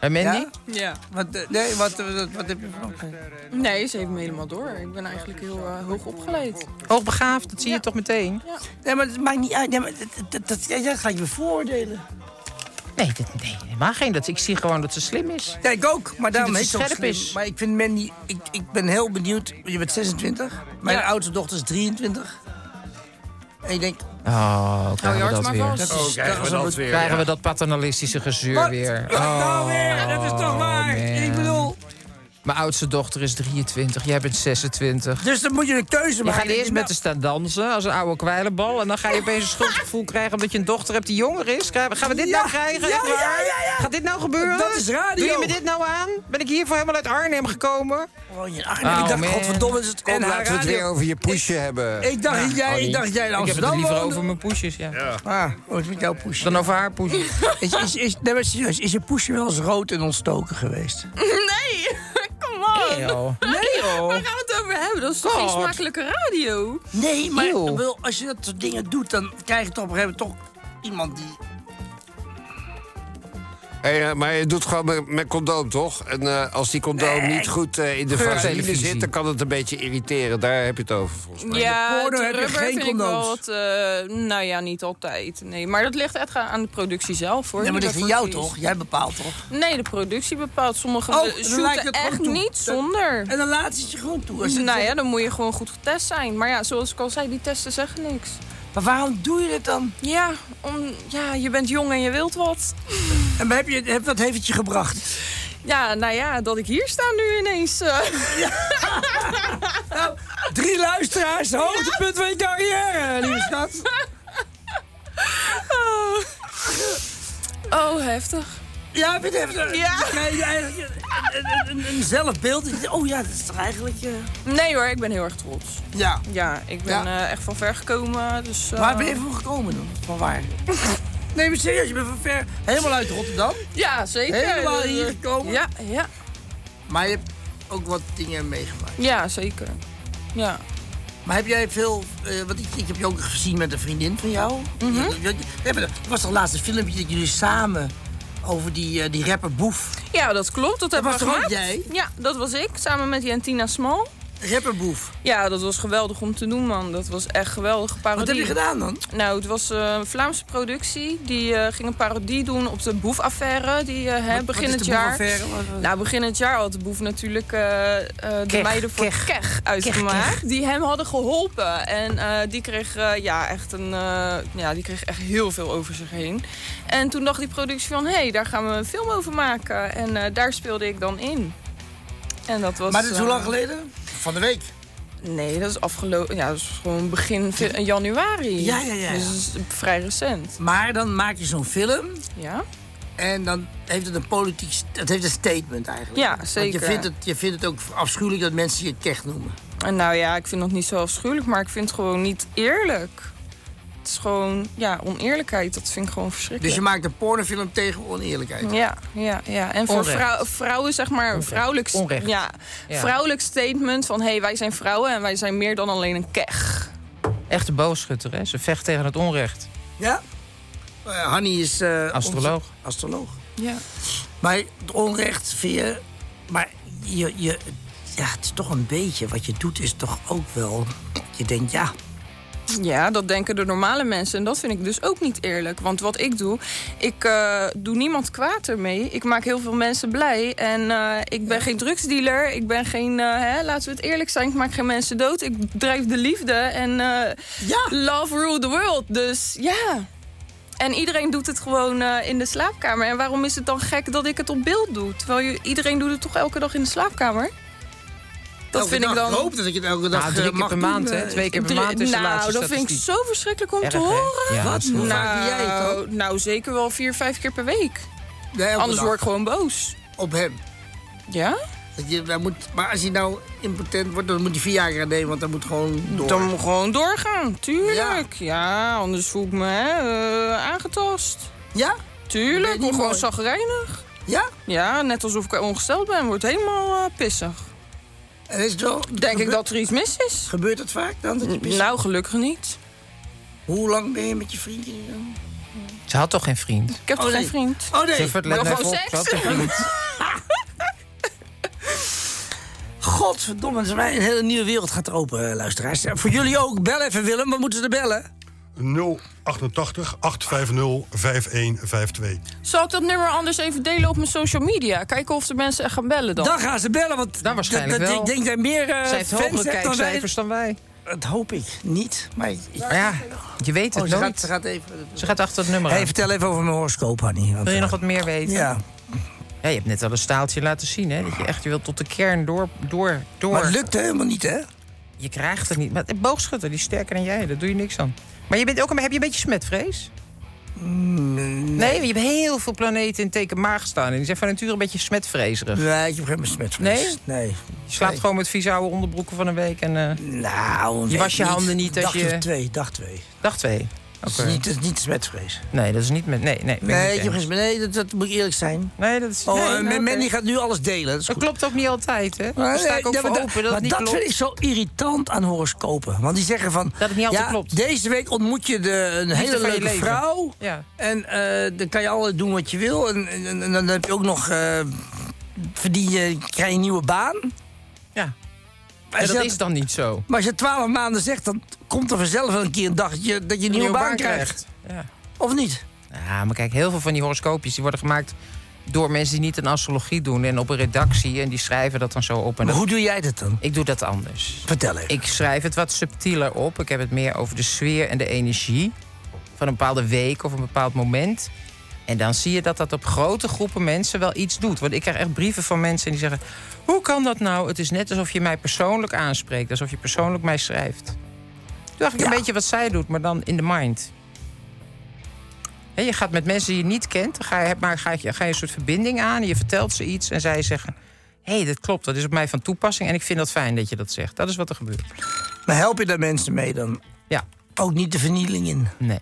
Speaker 6: En Mandy?
Speaker 2: Ja?
Speaker 9: Ja.
Speaker 2: Wat, eh, nee, wat, eh, wat, wat heb je van opgegeven?
Speaker 9: Nee, ze heeft me helemaal door. Ik ben eigenlijk heel eh, hoog opgeleid.
Speaker 6: Hoogbegaafd, dat zie je toch meteen?
Speaker 2: Nee, maar het maakt niet uit. Nee, maar dat, dat, dat, jij gaat je bevoordelen.
Speaker 6: Nee, dat, nee, helemaal geen. Dat, ik zie gewoon dat ze slim is.
Speaker 2: Ja, ik ook, maar daarom
Speaker 6: dat
Speaker 2: heet
Speaker 6: ze
Speaker 2: ze ook
Speaker 6: scherp
Speaker 2: slim.
Speaker 6: is.
Speaker 2: Maar ik vind Mandy, ik, ik ben heel benieuwd. Je bent 26, mijn
Speaker 9: Ja.
Speaker 2: oudste dochter is 23. En ik denk,
Speaker 6: Oh,
Speaker 9: Hou
Speaker 6: krijgen
Speaker 9: je hart
Speaker 6: we dat
Speaker 9: maar
Speaker 6: weer.
Speaker 9: vast.
Speaker 2: dat is, dat is een
Speaker 6: Krijgen we dat paternalistische gezeur
Speaker 2: Wat?
Speaker 6: weer.
Speaker 2: Wat nou weer? Dat is toch
Speaker 6: Oh,
Speaker 2: waar? Ik
Speaker 6: man.
Speaker 2: bedoel,
Speaker 6: Mijn oudste dochter is 23, jij bent 26.
Speaker 2: dus dan moet je een keuze
Speaker 6: Je
Speaker 2: maken.
Speaker 6: gaat eerst met de staan dansen als een oude kwijlenbal. En dan ga je opeens een schuldgevoel krijgen omdat je een dochter hebt die jonger is. Krijgen- Gaan we dit
Speaker 2: Ja,
Speaker 6: nou krijgen?
Speaker 2: ja,
Speaker 6: Echt
Speaker 2: ja,
Speaker 6: waar?
Speaker 2: ja, ja.
Speaker 6: Gaat dit nou gebeuren?
Speaker 2: Dat is radio.
Speaker 6: Doe je me dit nou aan? Ben ik hiervoor helemaal uit Arnhem gekomen?
Speaker 2: Gewoon Oh, je ah. arm. ik dacht,
Speaker 6: man.
Speaker 2: godverdomme, is het
Speaker 8: Kom,
Speaker 2: NH
Speaker 8: laten we het
Speaker 2: Radio.
Speaker 8: weer over je poesje hebben.
Speaker 2: Ik dacht, dat jij, ik dacht dat jij in
Speaker 6: Eh, Ik heb
Speaker 2: Amsterdam
Speaker 6: het liever
Speaker 2: woonde.
Speaker 6: over mijn poesjes, ja.
Speaker 2: Ah, oh, het is met jouw poesje.
Speaker 6: Dan over haar poesjes.
Speaker 2: Is, is, is, nee, maar serieus, is je poesje wel eens rood en ontstoken geweest?
Speaker 9: Nee, come on.
Speaker 6: Nee, joh. Nee,
Speaker 9: Waar
Speaker 6: joh.
Speaker 9: gaan we het over hebben? Oh, Dat is toch geen
Speaker 6: God.
Speaker 9: smakelijke radio?
Speaker 2: Nee, maar
Speaker 6: Eeuw.
Speaker 2: wel, als je dat soort dingen doet, dan krijg je toch op een gegeven moment toch iemand die...
Speaker 8: Hey, eh, maar je doet gewoon met, met condoom, toch? En eh, als die condoom niet goed eh, in de vaseline
Speaker 6: Geurtelevisie.
Speaker 8: zit... dan kan het een beetje irriteren. Daar heb je het over, volgens mij.
Speaker 9: Ja,
Speaker 2: porno
Speaker 9: het
Speaker 2: heb je
Speaker 9: rubber
Speaker 2: geen
Speaker 9: vind ik wel
Speaker 2: condooms.
Speaker 9: wat... eh, nou ja, niet altijd. Nee. Maar dat ligt echt aan de productie zelf, hoor.
Speaker 2: Nee, maar
Speaker 9: Die
Speaker 2: dat is van jou
Speaker 9: daarvoor
Speaker 2: toch?
Speaker 9: kiest.
Speaker 2: Jij bepaalt toch?
Speaker 9: Nee, de productie bepaalt. Sommigen
Speaker 2: Oh,
Speaker 9: eh,
Speaker 2: dan lijkt
Speaker 9: shooten
Speaker 2: het
Speaker 9: echt
Speaker 2: gewoon toe.
Speaker 9: niet
Speaker 2: Dan-
Speaker 9: zonder.
Speaker 2: En dan laat ze het je gewoon toe. Als het
Speaker 9: Nou
Speaker 2: zo-
Speaker 9: ja, dan moet je gewoon goed getest zijn. Maar ja, zoals ik al zei, die testen zeggen niks.
Speaker 2: Maar waarom doe je dit dan?
Speaker 9: Ja, om, ja je bent jong en je wilt wat.
Speaker 2: En heb je, heb, wat heeft het je gebracht?
Speaker 9: Ja, nou ja, dat ik hier sta nu ineens. eh.
Speaker 2: Drie luisteraars, hoogtepunt van je carrière, lieve schat.
Speaker 9: Oh. Oh, heftig.
Speaker 2: Ja, heb je het even...
Speaker 9: Ja.
Speaker 2: Krijg je eigenlijk een, een, een, een zelfbeeld. Oh ja, dat is toch eigenlijk... eh,
Speaker 9: Nee hoor, ik ben heel erg trots.
Speaker 2: Ja.
Speaker 9: Ja, ik ben
Speaker 2: Ja.
Speaker 9: eh, echt van ver gekomen. Dus, eh,
Speaker 2: Waar ben je van gekomen dan? Van waar? Nee, maar serieus, je bent van ver... Helemaal uit Rotterdam.
Speaker 9: Ja, zeker.
Speaker 2: Helemaal
Speaker 9: Dus, eh,
Speaker 2: hier gekomen.
Speaker 9: Ja, ja.
Speaker 2: Maar je hebt ook wat dingen meegemaakt.
Speaker 9: ja, zeker. Ja.
Speaker 2: Maar heb jij veel... eh want ik, ik heb je ook gezien met een vriendin van jou.
Speaker 9: Mhm.
Speaker 2: Je- je- je- we hebben- Het was toch laatst een filmpje dat jullie samen... over die, eh, die rapper Boef.
Speaker 9: ja, dat klopt. Dat, hebben
Speaker 2: was
Speaker 9: we
Speaker 2: toch ook
Speaker 9: gemaakt.
Speaker 2: jij?
Speaker 9: Ja, dat was ik, samen met Jantina Smal.
Speaker 2: Rapper Boef.
Speaker 9: Ja, dat was geweldig om te doen, man. Dat was echt geweldig. Parodie.
Speaker 2: heb je gedaan dan?
Speaker 9: Nou, het was eh, een Vlaamse productie. Die eh, ging een parodie doen op de boefaffaire. Die eh, hè,
Speaker 2: Wat-
Speaker 9: begin
Speaker 2: wat is
Speaker 9: het
Speaker 2: de
Speaker 9: jaar.
Speaker 2: boefaffaire? Wat- wat-
Speaker 9: Nou, begin het jaar had de boef natuurlijk eh, eh, de
Speaker 2: Kech,
Speaker 9: meiden voor
Speaker 2: kech.
Speaker 9: kech, uitgemaakt. Die hem hadden geholpen. En eh, die kreeg eh, ja, echt een. eh, ja, die kreeg echt heel veel over zich heen. En toen dacht die productie van hé, hey, daar gaan we een film over maken. En eh, daar speelde ik dan in. En dat was.
Speaker 2: maar dit is hoe lang
Speaker 9: eh,
Speaker 2: geleden? Van de week.
Speaker 9: Nee, dat is afgelopen. Ja, dat is gewoon begin ve- januari.
Speaker 2: Ja, ja, ja.
Speaker 9: Dus dat is vrij recent.
Speaker 2: Maar dan maak je zo'n film...
Speaker 9: Ja?
Speaker 2: En dan heeft het een politiek... st- Het heeft een statement eigenlijk.
Speaker 9: Ja,
Speaker 2: Want je
Speaker 9: zeker.
Speaker 2: vindt, het, je vindt het ook afschuwelijk dat mensen je kech noemen.
Speaker 9: En nou ja, ik vind dat niet zo afschuwelijk, maar ik vind het gewoon niet eerlijk. Het is gewoon, ja, oneerlijkheid. Dat vind ik gewoon
Speaker 2: Dus
Speaker 9: verschrikkelijk.
Speaker 2: je maakt een pornofilm tegen oneerlijkheid.
Speaker 9: Ja, ja, ja. En voor
Speaker 2: Onrecht.
Speaker 9: vrou- vrouwen, zeg maar, een vrouwelijk, st-
Speaker 2: Onrecht.
Speaker 9: Ja,
Speaker 6: Ja.
Speaker 9: vrouwelijk statement van... hé, hey, wij zijn vrouwen en wij zijn meer dan alleen een kech.
Speaker 6: Echte boogschutter, hè? Ze vecht tegen het onrecht.
Speaker 2: Ja? Eh, Hanny is... eh,
Speaker 6: Astroloog.
Speaker 2: onze- astroloog.
Speaker 9: Ja.
Speaker 2: Maar het onrecht vind je... Maar je, je... Ja, het is toch een beetje... Wat je doet is toch ook wel... Je denkt, ja...
Speaker 9: Ja, dat denken de normale mensen. En dat vind ik dus ook niet eerlijk. Want wat ik doe, ik eh, doe niemand kwaad ermee. Ik maak heel veel mensen blij. En eh, ik ben geen drugsdealer. Ik ben geen, eh, hè, laten we het eerlijk zijn, ik maak geen mensen dood. Ik drijf de liefde. En eh, love rule the world. Dus ja. En iedereen doet het gewoon eh, in de slaapkamer. En waarom is het dan gek dat ik het op beeld doe? Terwijl je, iedereen doet het toch elke dag in de slaapkamer? Dat
Speaker 2: elke
Speaker 9: vind
Speaker 2: dag,
Speaker 9: ik dan...
Speaker 2: hoop dat ik het elke dag
Speaker 6: Nou, drie
Speaker 2: eh,
Speaker 6: keer
Speaker 2: mag
Speaker 6: per
Speaker 2: doen,
Speaker 6: maand, hè?
Speaker 2: eh.
Speaker 6: Twee keer per
Speaker 9: Drie-
Speaker 6: maand is de laatste
Speaker 9: Nou, dat vind ik
Speaker 6: statistiek.
Speaker 9: zo verschrikkelijk om te
Speaker 6: Erg, hè?
Speaker 9: horen.
Speaker 6: Ja,
Speaker 2: Wat?
Speaker 6: dat is heel
Speaker 2: Nou,
Speaker 6: vaak.
Speaker 2: vaak jij het
Speaker 9: Nou, nou, zeker wel vier, vijf keer per week.
Speaker 2: Nee, elke
Speaker 9: Anders
Speaker 2: dag.
Speaker 9: word ik gewoon boos.
Speaker 2: Op hem.
Speaker 9: Ja?
Speaker 2: Dat je, hij moet, maar als hij nou impotent wordt, dan moet hij Viagra nemen, want dan moet gewoon door.
Speaker 9: Dan moet gewoon doorgaan, tuurlijk. Ja, anders voel ik me hè, eh, aangetast.
Speaker 2: Ja?
Speaker 9: Tuurlijk,
Speaker 2: niet
Speaker 9: word gewoon
Speaker 2: mooi.
Speaker 9: zagrijnig.
Speaker 2: Ja?
Speaker 9: Ja, net alsof ik ongesteld ben, wordt helemaal eh, pissig.
Speaker 2: En is het wel,
Speaker 9: Denk ik dat er iets mis is?
Speaker 2: Gebeurt dat vaak dan? Dat je pist?
Speaker 9: Nou, gelukkig niet.
Speaker 2: Hoe lang ben je met je vriendin dan?
Speaker 6: Ze had toch geen vriend?
Speaker 9: Ik heb
Speaker 2: Oh,
Speaker 9: toch
Speaker 2: nee.
Speaker 9: geen vriend?
Speaker 2: Oh
Speaker 6: Ze
Speaker 2: nee,
Speaker 6: verlet-
Speaker 9: wil
Speaker 6: let
Speaker 9: gewoon
Speaker 6: op, ze had
Speaker 9: seks.
Speaker 6: geen vriend.
Speaker 2: godverdomme, er is een hele nieuwe wereld gaat er open, eh, luisteraars. Eh, Voor jullie ook, bel even Willem, wat moeten ze er bellen?
Speaker 7: 088 850 5152.
Speaker 9: Zal ik dat nummer anders even delen op mijn social media? Kijken of de mensen echt gaan bellen dan.
Speaker 2: Dan gaan ze bellen, want
Speaker 6: Dan waarschijnlijk
Speaker 2: dat- dat-
Speaker 6: wel.
Speaker 2: ik denk dat je meer eh,
Speaker 6: Zij heeft
Speaker 2: fans
Speaker 6: hogere
Speaker 2: hebt dan wij.
Speaker 6: kijkcijfers dan wij.
Speaker 2: Dat hoop ik niet, maar ik- ik-
Speaker 6: Maar ja, je weet het
Speaker 2: Oh, ze,
Speaker 6: nooit.
Speaker 2: gaat, ze gaat even...
Speaker 6: Ze gaat achter het nummer
Speaker 2: Hey,
Speaker 6: aan.
Speaker 2: vertel even over mijn horoscoop, Hanny. want,
Speaker 6: Wil je
Speaker 2: eh,
Speaker 6: nog wat meer weten?
Speaker 2: Ja,
Speaker 6: Ja, je hebt net al een staaltje laten zien, hè? Dat je echt je wilt tot de kern door, door, door.
Speaker 2: maar het lukt helemaal niet, hè?
Speaker 6: Je krijgt het niet. Maar een boogschutter, die is sterker dan jij. Daar doe je niks aan. Maar je bent ook, een- heb je een beetje smetvrees?
Speaker 2: Mm,
Speaker 6: Nee, je hebt heel veel planeten in teken maag staan. En die zijn van nature een beetje smetvreeserig.
Speaker 2: Nee, ik heb geen besmetting.
Speaker 6: Nee?
Speaker 2: Nee.
Speaker 6: Je slaapt gewoon met vieze oude onderbroeken van een week. En, eh,
Speaker 2: Nou,
Speaker 6: Je was
Speaker 2: weet
Speaker 6: je handen niet als
Speaker 2: Dag
Speaker 6: je-
Speaker 2: of twee, dag twee.
Speaker 6: dag twee.
Speaker 2: Dat is niet, dat is niet smetvrees.
Speaker 6: Nee, dat is niet met. Nee, nee. ben ik niet
Speaker 2: Nee,
Speaker 6: eens.
Speaker 2: jongens, maar nee dat, dat moet eerlijk zijn.
Speaker 6: Nee, dat is...
Speaker 2: Oh,
Speaker 6: nee,
Speaker 2: eh,
Speaker 6: nou,
Speaker 2: men-
Speaker 6: oké.
Speaker 2: men die gaat nu alles delen. Dat, is
Speaker 6: Dat
Speaker 2: goed.
Speaker 6: klopt ook niet altijd, hè? Daar sta ik ook
Speaker 2: Nee,
Speaker 6: voor
Speaker 2: maar da-
Speaker 6: open dat het
Speaker 2: maar
Speaker 6: niet
Speaker 2: dat
Speaker 6: klopt.
Speaker 2: vind ik zo irritant aan horoscopen. Want die zeggen van...
Speaker 6: Dat het niet altijd
Speaker 2: ja,
Speaker 6: klopt.
Speaker 2: Deze week ontmoet je de, een
Speaker 6: Liefde
Speaker 2: hele
Speaker 6: van je
Speaker 2: leuke
Speaker 6: leven.
Speaker 2: vrouw.
Speaker 6: Ja.
Speaker 2: En eh, dan kan je alles doen wat je wil. En, en- en- en dan heb je ook nog... eh verdien je, krijg je een nieuwe baan.
Speaker 6: Ja.
Speaker 2: Maar
Speaker 6: En
Speaker 2: als
Speaker 6: dat
Speaker 2: je
Speaker 6: is dan niet zo.
Speaker 2: Maar als je twaalf maanden zegt, dan komt er vanzelf wel een keer een dag dat je, dat je een nieuwe baan krijgt.
Speaker 6: Ja.
Speaker 2: Of niet?
Speaker 6: Ja, maar kijk, heel veel van die horoscoopjes die worden gemaakt door mensen die niet een astrologie doen en op een redactie en die schrijven dat dan zo op. En
Speaker 2: Maar
Speaker 6: dat-
Speaker 2: hoe doe jij dat dan?
Speaker 6: Ik doe dat anders.
Speaker 2: Vertel even.
Speaker 6: Ik schrijf het wat subtieler op. Ik heb het meer over de sfeer en de energie van een bepaalde week of een bepaald moment. En dan zie je dat dat op grote groepen mensen wel iets doet. Want ik krijg echt brieven van mensen die zeggen... hoe kan dat nou? Het is net alsof je mij persoonlijk aanspreekt. Alsof je persoonlijk mij schrijft. Toen dacht ik een beetje wat zij doet, maar dan in de mind. Hè, je gaat met mensen die je niet kent, dan ga je, maar ga, je, ga je een soort verbinding aan. Je vertelt ze iets en zij zeggen... hé, hey, dat klopt, dat is op mij van toepassing... en ik vind dat fijn dat je dat zegt. Dat is wat er gebeurt.
Speaker 2: Maar help je daar mensen mee dan?
Speaker 6: Ja.
Speaker 2: Ook niet de vernieling in.
Speaker 6: Nee.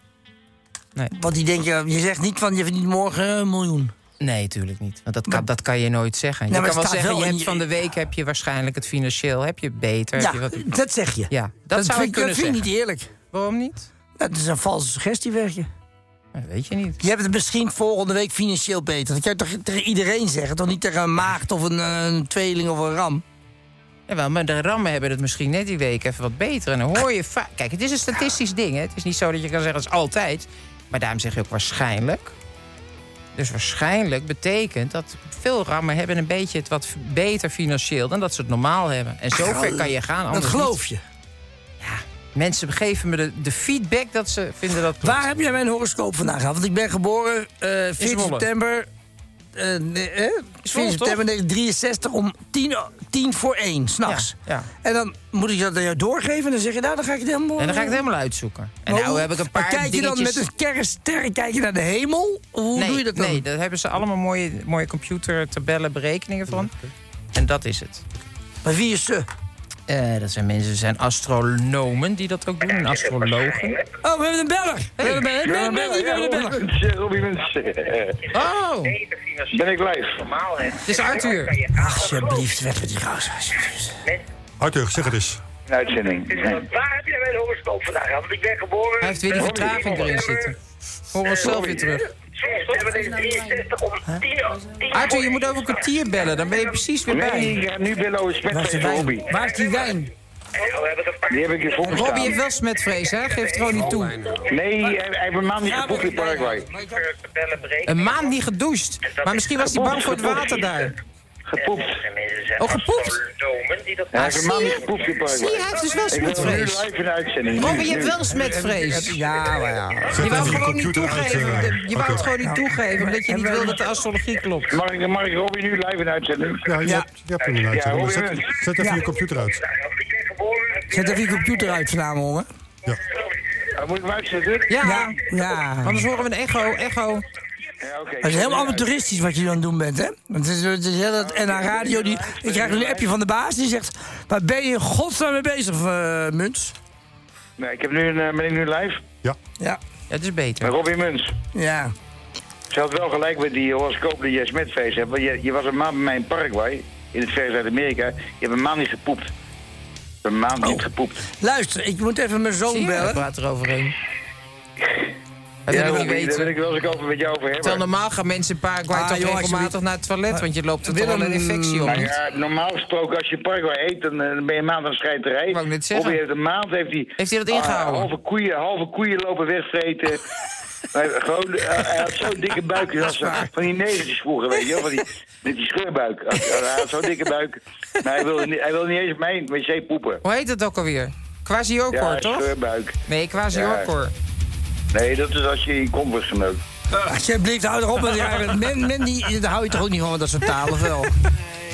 Speaker 6: Nou, nee.
Speaker 2: Want die denken, je zegt niet van je verdient morgen een miljoen.
Speaker 6: Nee, tuurlijk niet. Want dat kan, dat kan je nooit zeggen.
Speaker 2: Nee,
Speaker 6: je
Speaker 2: Nou, maar
Speaker 6: kan wel
Speaker 2: het staat
Speaker 6: zeggen, je
Speaker 2: wel in
Speaker 6: hebt
Speaker 2: je-
Speaker 6: van de week heb je waarschijnlijk het financieel heb je beter.
Speaker 2: Ja,
Speaker 6: heb je wat-
Speaker 2: dat zeg je.
Speaker 6: ja dat, zou
Speaker 2: vind,
Speaker 6: ik kunnen
Speaker 2: dat
Speaker 6: zeggen.
Speaker 2: vind ik niet eerlijk.
Speaker 6: Waarom niet?
Speaker 2: Dat is een valse suggestie, werk je.
Speaker 6: Dat weet je niet.
Speaker 2: Je hebt het misschien volgende week financieel beter. Dat kan je toch tegen iedereen zeggen? Toch niet tegen een maagd of een, eh, een tweeling of een ram?
Speaker 6: Jawel, maar de rammen hebben het misschien net die week even wat beter. En dan hoor je vaak... Kijk, het is een statistisch ding, hè. Het is niet zo dat je kan zeggen, het is altijd. Maar daarom zeg je ook waarschijnlijk. Dus waarschijnlijk betekent dat veel rammen hebben een beetje het wat beter financieel... dan dat ze het normaal hebben. En zover kan je gaan,
Speaker 2: Dat
Speaker 6: anders
Speaker 2: geloof
Speaker 6: niet.
Speaker 2: je.
Speaker 6: Mensen geven me de, de feedback dat ze vinden dat...
Speaker 2: Waar heb jij mijn horoscoop vandaan gehaald? Want ik ben geboren eh 14
Speaker 6: Zwolle.
Speaker 2: september. eh, nee, hè? 14 september 1963 om 10, o- 10 voor 1 s'nachts.
Speaker 6: Ja.
Speaker 2: En dan moet ik dat aan jou doorgeven en dan zeg je, nou, dan ga ik het helemaal...
Speaker 6: En dan ga ik het helemaal uitzoeken. En
Speaker 2: Maar
Speaker 6: nou
Speaker 2: hoe-
Speaker 6: heb ik een
Speaker 2: maar
Speaker 6: paar
Speaker 2: kijk je dan met
Speaker 6: dingetjes-
Speaker 2: een kernsterren kijk je naar de hemel? Hoe
Speaker 6: nee,
Speaker 2: doe je dat dan?
Speaker 6: Nee, daar hebben ze allemaal mooie, mooie computertabellen, berekeningen van. En dat is het.
Speaker 2: Maar wie is ze?
Speaker 6: Eh, dat zijn mensen, dat zijn astronomen die dat ook doen, en astrologen.
Speaker 2: Oh, we hebben een beller! We hebben een- we hebben een beller! We hebben een beller!
Speaker 13: Zeg, Robby Mensen.
Speaker 6: Oh!
Speaker 13: Ben ik live?
Speaker 6: Het is Arthur.
Speaker 2: Alsjeblieft, weg met die roos.
Speaker 7: Arthur, zeg het eens.
Speaker 13: Een uitzending.
Speaker 10: Waar heb jij mijn horoscoop vandaag gehad? Want ik ben geboren...
Speaker 6: Hij heeft weer die vertraging erin zitten. Hoor ons zelf weer terug. Arthur, je moet over een kwartier bellen, dan ben je precies weer
Speaker 13: Nee,
Speaker 6: bij.
Speaker 13: ik ga nu bellen over
Speaker 2: Waar is die
Speaker 13: smetvrees Robby.
Speaker 2: wijn? Waar is die wijn?
Speaker 13: Die heb ik hier voor me
Speaker 6: Robbie
Speaker 13: staan.
Speaker 6: heeft wel smetvrees, hè? Geef het gewoon niet toe.
Speaker 13: Nee, hij hij heeft een maand niet geboekt in Paraguay.
Speaker 6: Een maand niet gedoucht. Maar misschien was hij bang voor het water daar.
Speaker 13: Gepoept.
Speaker 6: Oh, gepoept.
Speaker 13: Hij heeft een maand niet
Speaker 6: zie je?
Speaker 13: geboekt in Paraguay.
Speaker 6: Zie je, hij heeft dus wel
Speaker 13: Ik wil hem nu
Speaker 6: smetvrees.
Speaker 13: live in de uitzending.
Speaker 6: Robby,
Speaker 13: Nu,
Speaker 6: je hebt
Speaker 13: nu.
Speaker 6: wel smetvrees.
Speaker 2: Ja, maar ja.
Speaker 7: Zet
Speaker 6: Je wou
Speaker 7: even
Speaker 6: gewoon niet
Speaker 7: computer uit,
Speaker 6: toegeven.
Speaker 7: eh,
Speaker 6: Je wou het
Speaker 7: Arthur.
Speaker 6: gewoon niet toegeven omdat je niet wil dat de astrologie klopt.
Speaker 13: Mag ik, mag ik Robby nu live in de uitzending?
Speaker 7: Ja, je hebt, je hebt hem eruit.
Speaker 13: Ja, hoor je
Speaker 7: zet,
Speaker 13: het?
Speaker 7: zet even je computer uit.
Speaker 2: Zet even je computer uit vanavond, jongen.
Speaker 13: Ja, Moet ik hem uitzetten?
Speaker 6: Ja,
Speaker 2: Ja.
Speaker 6: anders horen we een echo, echo.
Speaker 13: Ja, oké.
Speaker 2: Het is helemaal amateuristisch wat je dan doen bent, hè? Want het is, het is heel dat NH Radio. Die, ik krijg een appje van de baas die zegt... Waar ben je in godsnaam mee bezig, eh Muns?
Speaker 13: Nee, ik heb nu een, eh, ben ik nu live?
Speaker 2: Ja.
Speaker 6: Ja, het is
Speaker 13: Met
Speaker 6: beter.
Speaker 13: Robby Muns.
Speaker 2: Ja.
Speaker 13: Ze had wel gelijk met die horoscoop die jij smetfeest hebt. Want je, je was een maand bij mij in Paraguay, in het verre Zuid-Amerika. Je hebt een maand niet gepoept. Een maand
Speaker 6: Oh.
Speaker 13: niet gepoept.
Speaker 2: Luister, ik moet even mijn
Speaker 6: Zie
Speaker 2: zoon
Speaker 6: je? Ik
Speaker 2: bellen.
Speaker 6: praat eroverheen. Dat wil ik
Speaker 13: Robby,
Speaker 6: niet
Speaker 13: daar wil
Speaker 6: weten.
Speaker 13: ik wel eens over met jou over hebben.
Speaker 6: Terwijl normaal gaan mensen in Paraguay
Speaker 2: Ah,
Speaker 6: toch
Speaker 2: joh,
Speaker 6: regelmatig
Speaker 2: alsjeblieft.
Speaker 6: naar het toilet, want je loopt er toch wel een
Speaker 2: Willem,
Speaker 6: infectie op.
Speaker 13: Nou ja, normaal gesproken, als je Paraguay eet, dan, eh, dan ben je een maand aan de scheiterij.
Speaker 6: Wou ik net zeggen.
Speaker 13: Robby heeft een maand, heeft hij...
Speaker 6: Heeft hij dat ingehouden?
Speaker 13: ah, halve, koeien, halve koeien lopen wegvreten. Hij, gewoon, eh, hij had zo'n dikke buik. hij had zo- van die negertjes vroeger, weet je wel. van die- Met die scheurbuik. Hij had zo'n dikke buik. Maar hij wilde, niet- hij wilde niet eens op mijn wc poepen.
Speaker 6: Hoe heet dat ook alweer?
Speaker 13: Ja, eh,
Speaker 6: Quasiocor, toch?
Speaker 13: scheurbuik.
Speaker 6: Nee, Quasiocor.
Speaker 13: Nee, dat is als je in kom wordt geneukt.
Speaker 2: Ah, Alsjeblieft, hou erop met die rare- Men, men die, daar hou je toch ook niet van, want dat soort talen, of wel?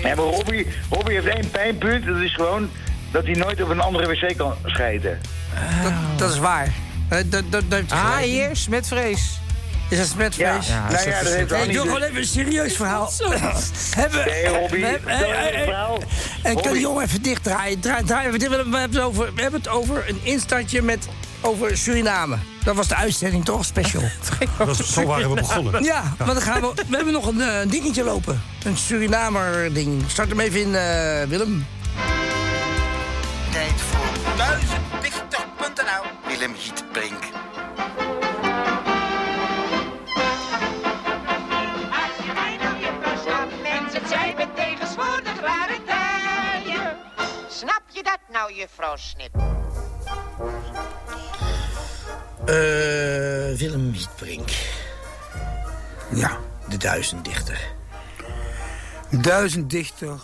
Speaker 13: Nee, maar Robbie, Robbie heeft één pijnpunt. Dat is gewoon dat hij nooit op een andere wc kan scheiden.
Speaker 2: Dat, dat is waar. Eh, Dat, dat, dat heeft hij
Speaker 6: Ah,
Speaker 2: gelijk.
Speaker 6: hier, smetvrees.
Speaker 2: Is dat smetvrees?
Speaker 13: Ja, nou ja, dat heeft
Speaker 2: Hey,
Speaker 13: hij
Speaker 2: ik
Speaker 13: niet.
Speaker 2: doe gewoon even een serieus verhaal. Hebben,
Speaker 13: Nee, Robbie,
Speaker 2: we-
Speaker 13: dat is
Speaker 2: eh, eh,
Speaker 13: een verhaal.
Speaker 2: En kan
Speaker 13: Robbie.
Speaker 2: die jongen even dichtdraaien? Draai, draai even dicht. We hebben het over, we hebben het over een instantje met over Suriname. Dat was de uitzending toch? Special.
Speaker 7: Dat is- zo waren we begonnen.
Speaker 2: Ja, maar dan gaan we, we hebben nog een eh, dingetje lopen. Een Surinamer ding. Start hem even in, eh, Willem.
Speaker 14: Tijd voor muizenpichter.nl. Willem Gietbrink.
Speaker 15: Mensen zijn me tegenwoordig rare tijden. Snap je dat nou, juffrouw Snip?
Speaker 2: Eh, Willem Mietbrink. Ja, de duizenddichter.
Speaker 16: Duizenddichter,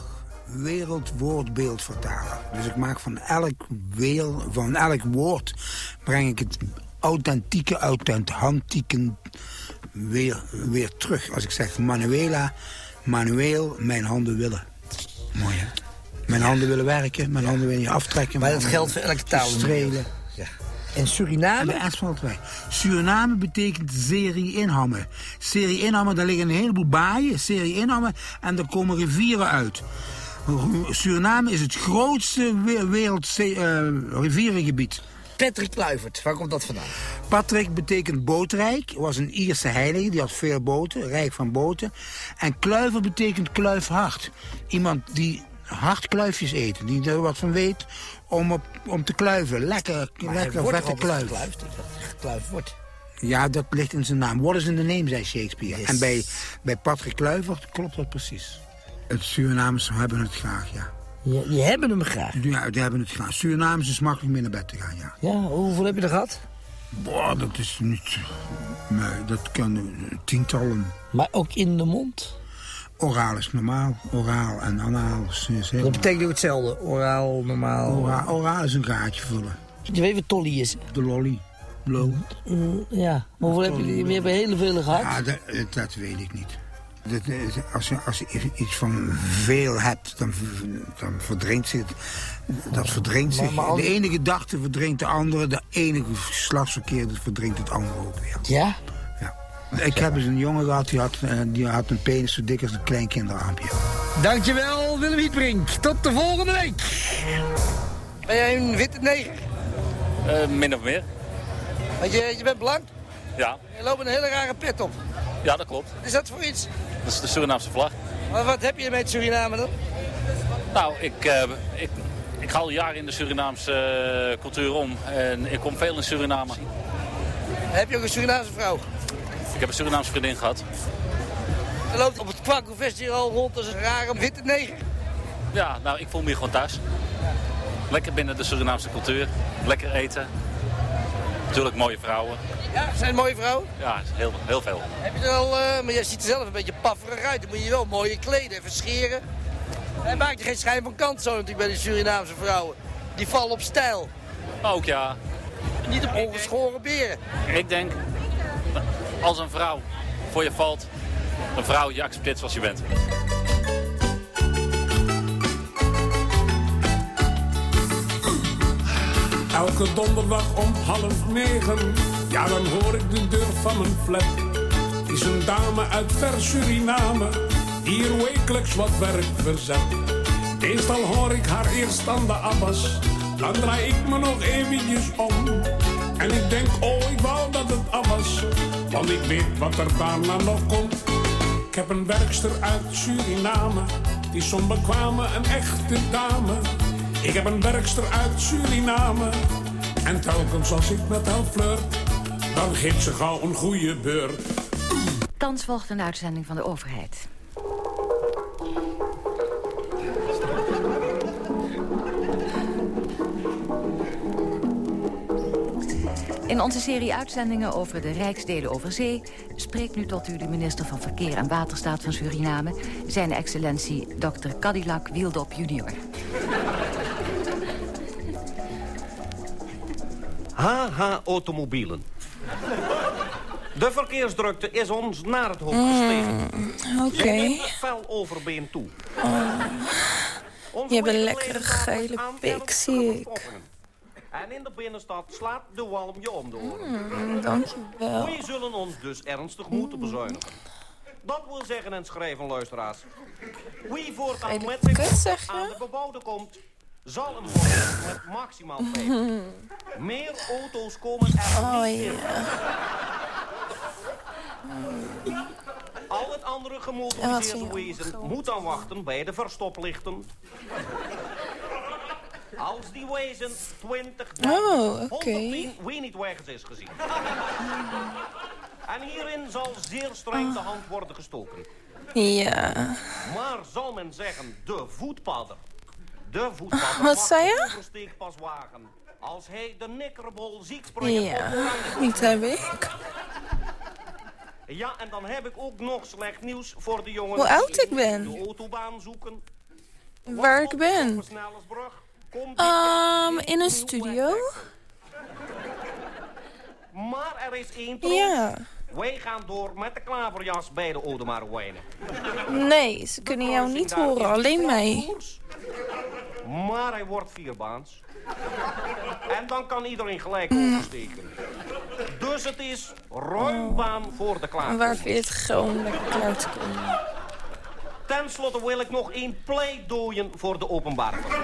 Speaker 16: wereldwoordbeeld vertalen. Dus ik maak van elk, weel, van elk woord breng ik het authentieke, authentieke weer, weer terug. Als ik zeg Manuela, Manueel, mijn handen willen. Mooi hè? Mijn handen willen werken, mijn handen willen je aftrekken.
Speaker 2: Maar
Speaker 16: mijn
Speaker 2: dat
Speaker 16: handen
Speaker 2: geldt voor elke
Speaker 16: willen
Speaker 2: taal.
Speaker 16: Strelen.
Speaker 2: Ja. En Suriname?
Speaker 16: En de asfalt weg. Suriname betekent serie inhammen. Serie inhammen, daar liggen een heleboel baaien. Serie inhammen en er komen rivieren uit. Ru- Suriname is het grootste we- wereld eh, rivierengebied.
Speaker 2: Patrick Kluivert, waar komt dat vandaan?
Speaker 16: Patrick betekent bootrijk. was een Ierse heilige, die had veel boten, rijk van boten. En kluiver betekent kluifhard. Iemand die hard kluifjes eet, die er wat van weet om, op, om te kluiven. Lekker, lekker
Speaker 2: wordt er
Speaker 16: vette
Speaker 2: altijd
Speaker 16: kluif.
Speaker 2: gekluifd, dat er gekluifd wordt.
Speaker 16: Ja, dat ligt in zijn naam. What is in the name, zei Shakespeare. En bij, bij Patrick Kluivert klopt dat precies. Het Surinamers hebben het graag, ja.
Speaker 2: Je, je hebben hem graag.
Speaker 16: Ja, die hebben het graag. Surinamers is makkelijk mee naar bed te gaan, ja.
Speaker 2: Ja, hoeveel heb je er gehad?
Speaker 16: Boah, dat is niet... Nee, dat kan eh, tientallen.
Speaker 2: Maar ook in de mond?
Speaker 16: Oraal is normaal. Oraal en anaal is, is
Speaker 2: Dat betekent ook hetzelfde. Oraal, normaal.
Speaker 16: Oraal, oraal is een gaatje vullen.
Speaker 2: Je weet wat tolly is? Mm,
Speaker 16: De lolly. Lol.
Speaker 2: Ja, maar hoeveel heb je, je hebt er heel veel gehad.
Speaker 16: Ja, dat, eh, dat weet ik niet. Dat is- als, je, als je iets van veel hebt, dan, dan verdringt zich. het. Dat verdringt
Speaker 2: Maar-
Speaker 16: zich.
Speaker 2: maar als-
Speaker 16: De ene gedachte verdrinkt de andere. De ene geslachtsverkeer verdringt het andere ook weer.
Speaker 2: Ja?
Speaker 16: Ik heb eens een jongen gehad, die had, eh, die had een penis zo dik als een klein kinderarmpje.
Speaker 2: Dankjewel, Willem Hietbrink. Tot de volgende week. Ben jij een witte neger?
Speaker 17: Eh, min of meer.
Speaker 2: Want je, je bent blank
Speaker 17: Ja.
Speaker 2: en je loopt met een hele rare pet op.
Speaker 17: ja, dat klopt.
Speaker 2: Wat is dat voor iets?
Speaker 17: Dat is de Surinaamse vlag.
Speaker 2: Maar wat heb je met Suriname dan?
Speaker 17: Nou, ik, eh, ik, ik ga al jaren in de Surinaamse eh, cultuur om. En ik kom veel in Suriname.
Speaker 2: Heb je ook een Surinaamse vrouw?
Speaker 17: Ik heb een Surinaamse vriendin gehad.
Speaker 2: Je loopt op het Kwaku Festival rond als een rare witte neger.
Speaker 17: Ja, nou, ik voel me hier gewoon thuis. Lekker binnen de Surinaamse cultuur. Lekker eten. Natuurlijk mooie vrouwen.
Speaker 2: Ja, zijn mooie vrouwen.
Speaker 17: Ja, heel, heel veel.
Speaker 2: Heb je er al, eh, maar jij ziet er zelf een beetje pafferig uit. Dan moet je wel mooie kleden en verscheren. Hij maakt je geen schijn van kans zo natuurlijk bij de Surinaamse vrouwen. Die vallen op stijl.
Speaker 17: Ook ja.
Speaker 2: Niet op ongeschoren beren.
Speaker 17: Ik denk, als een vrouw voor je valt, een vrouw je accepteert zoals je bent.
Speaker 18: Elke donderdag om half negen, ja dan hoor ik de deur van mijn flat. Is een dame uit ver Suriname, die hier wekelijks wat werk verzet. Meestal hoor ik haar eerst aan de abbas, dan draai ik me nog eventjes om. En ik denk, oh ik wou dat het af was, want ik weet wat er daarna nog komt. Ik heb een werkster uit Suriname, die is zo'n bekwame en echte dame. Ik heb een werkster uit Suriname, en telkens als ik met haar flirt, dan geeft ze gauw een goede beurt.
Speaker 19: Thans volgt een uitzending van de overheid. In onze serie uitzendingen over de Rijksdelen over zee... spreekt nu tot u de minister van Verkeer en Waterstaat van Suriname... zijn excellentie Dr. Cadillac Wieldop junior.
Speaker 20: HH Automobielen. De verkeersdrukte is ons naar het hoofd gestegen.
Speaker 21: Mm. Oké. Oh,
Speaker 20: Je neemt het fel overbeen toe.
Speaker 9: Oh.
Speaker 21: Je hebt een lekkere gele pik, zie ik.
Speaker 20: En in de binnenstad slaat de walm je om de oren.
Speaker 21: Mm, dankjewel.
Speaker 20: We zullen ons dus ernstig moeten bezuinigen. Dat wil zeggen en schrijven, luisteraars. Wie voortaan met zich aan de bebouwde komt... zal hem worden met maximaal 50. Meer auto's komen er
Speaker 9: Oh,
Speaker 20: niet in.
Speaker 9: ja.
Speaker 20: Al het andere
Speaker 9: Ja,
Speaker 20: gemotoriseerde
Speaker 9: wat vind je
Speaker 20: wezen
Speaker 9: ongezond.
Speaker 20: moet dan wachten bij de verstoplichten. Als die wezen 20
Speaker 9: Oh, oké.
Speaker 20: wegenwagens is gezien. En hierin zal zeer streng de
Speaker 9: Ah.
Speaker 20: hand worden gestoken.
Speaker 9: Ja.
Speaker 20: Maar zal men zeggen, de voetpadder. De voetpadder
Speaker 9: Wat
Speaker 20: mag
Speaker 9: zei
Speaker 20: de
Speaker 9: je?
Speaker 20: oversteek pas wagen. Als hij de nikkerbol ziet springen.
Speaker 9: Ja.
Speaker 20: op-
Speaker 9: Niet heb ik.
Speaker 20: Ja, en dan heb ik ook nog slecht nieuws voor de jongen.
Speaker 9: Hoe oud ik ben?
Speaker 20: De autobaan zoeken.
Speaker 9: Waar ik ben. Ehm, in een studio.
Speaker 20: Maar er is één troost.
Speaker 9: Ja.
Speaker 20: Wij gaan door met de klaverjas bij de Odemarowijnen.
Speaker 9: Nee, ze kunnen jou niet horen, alleen mij.
Speaker 20: Maar hij wordt vierbaans. En dan kan iedereen gelijk oversteken. Dus het is ruim baan voor de klaver.
Speaker 9: Oh. Waar vind je het gewoon lekker klaar te komen?
Speaker 20: Ten slotte wil ik nog één pleidooien voor de openbare vervoer.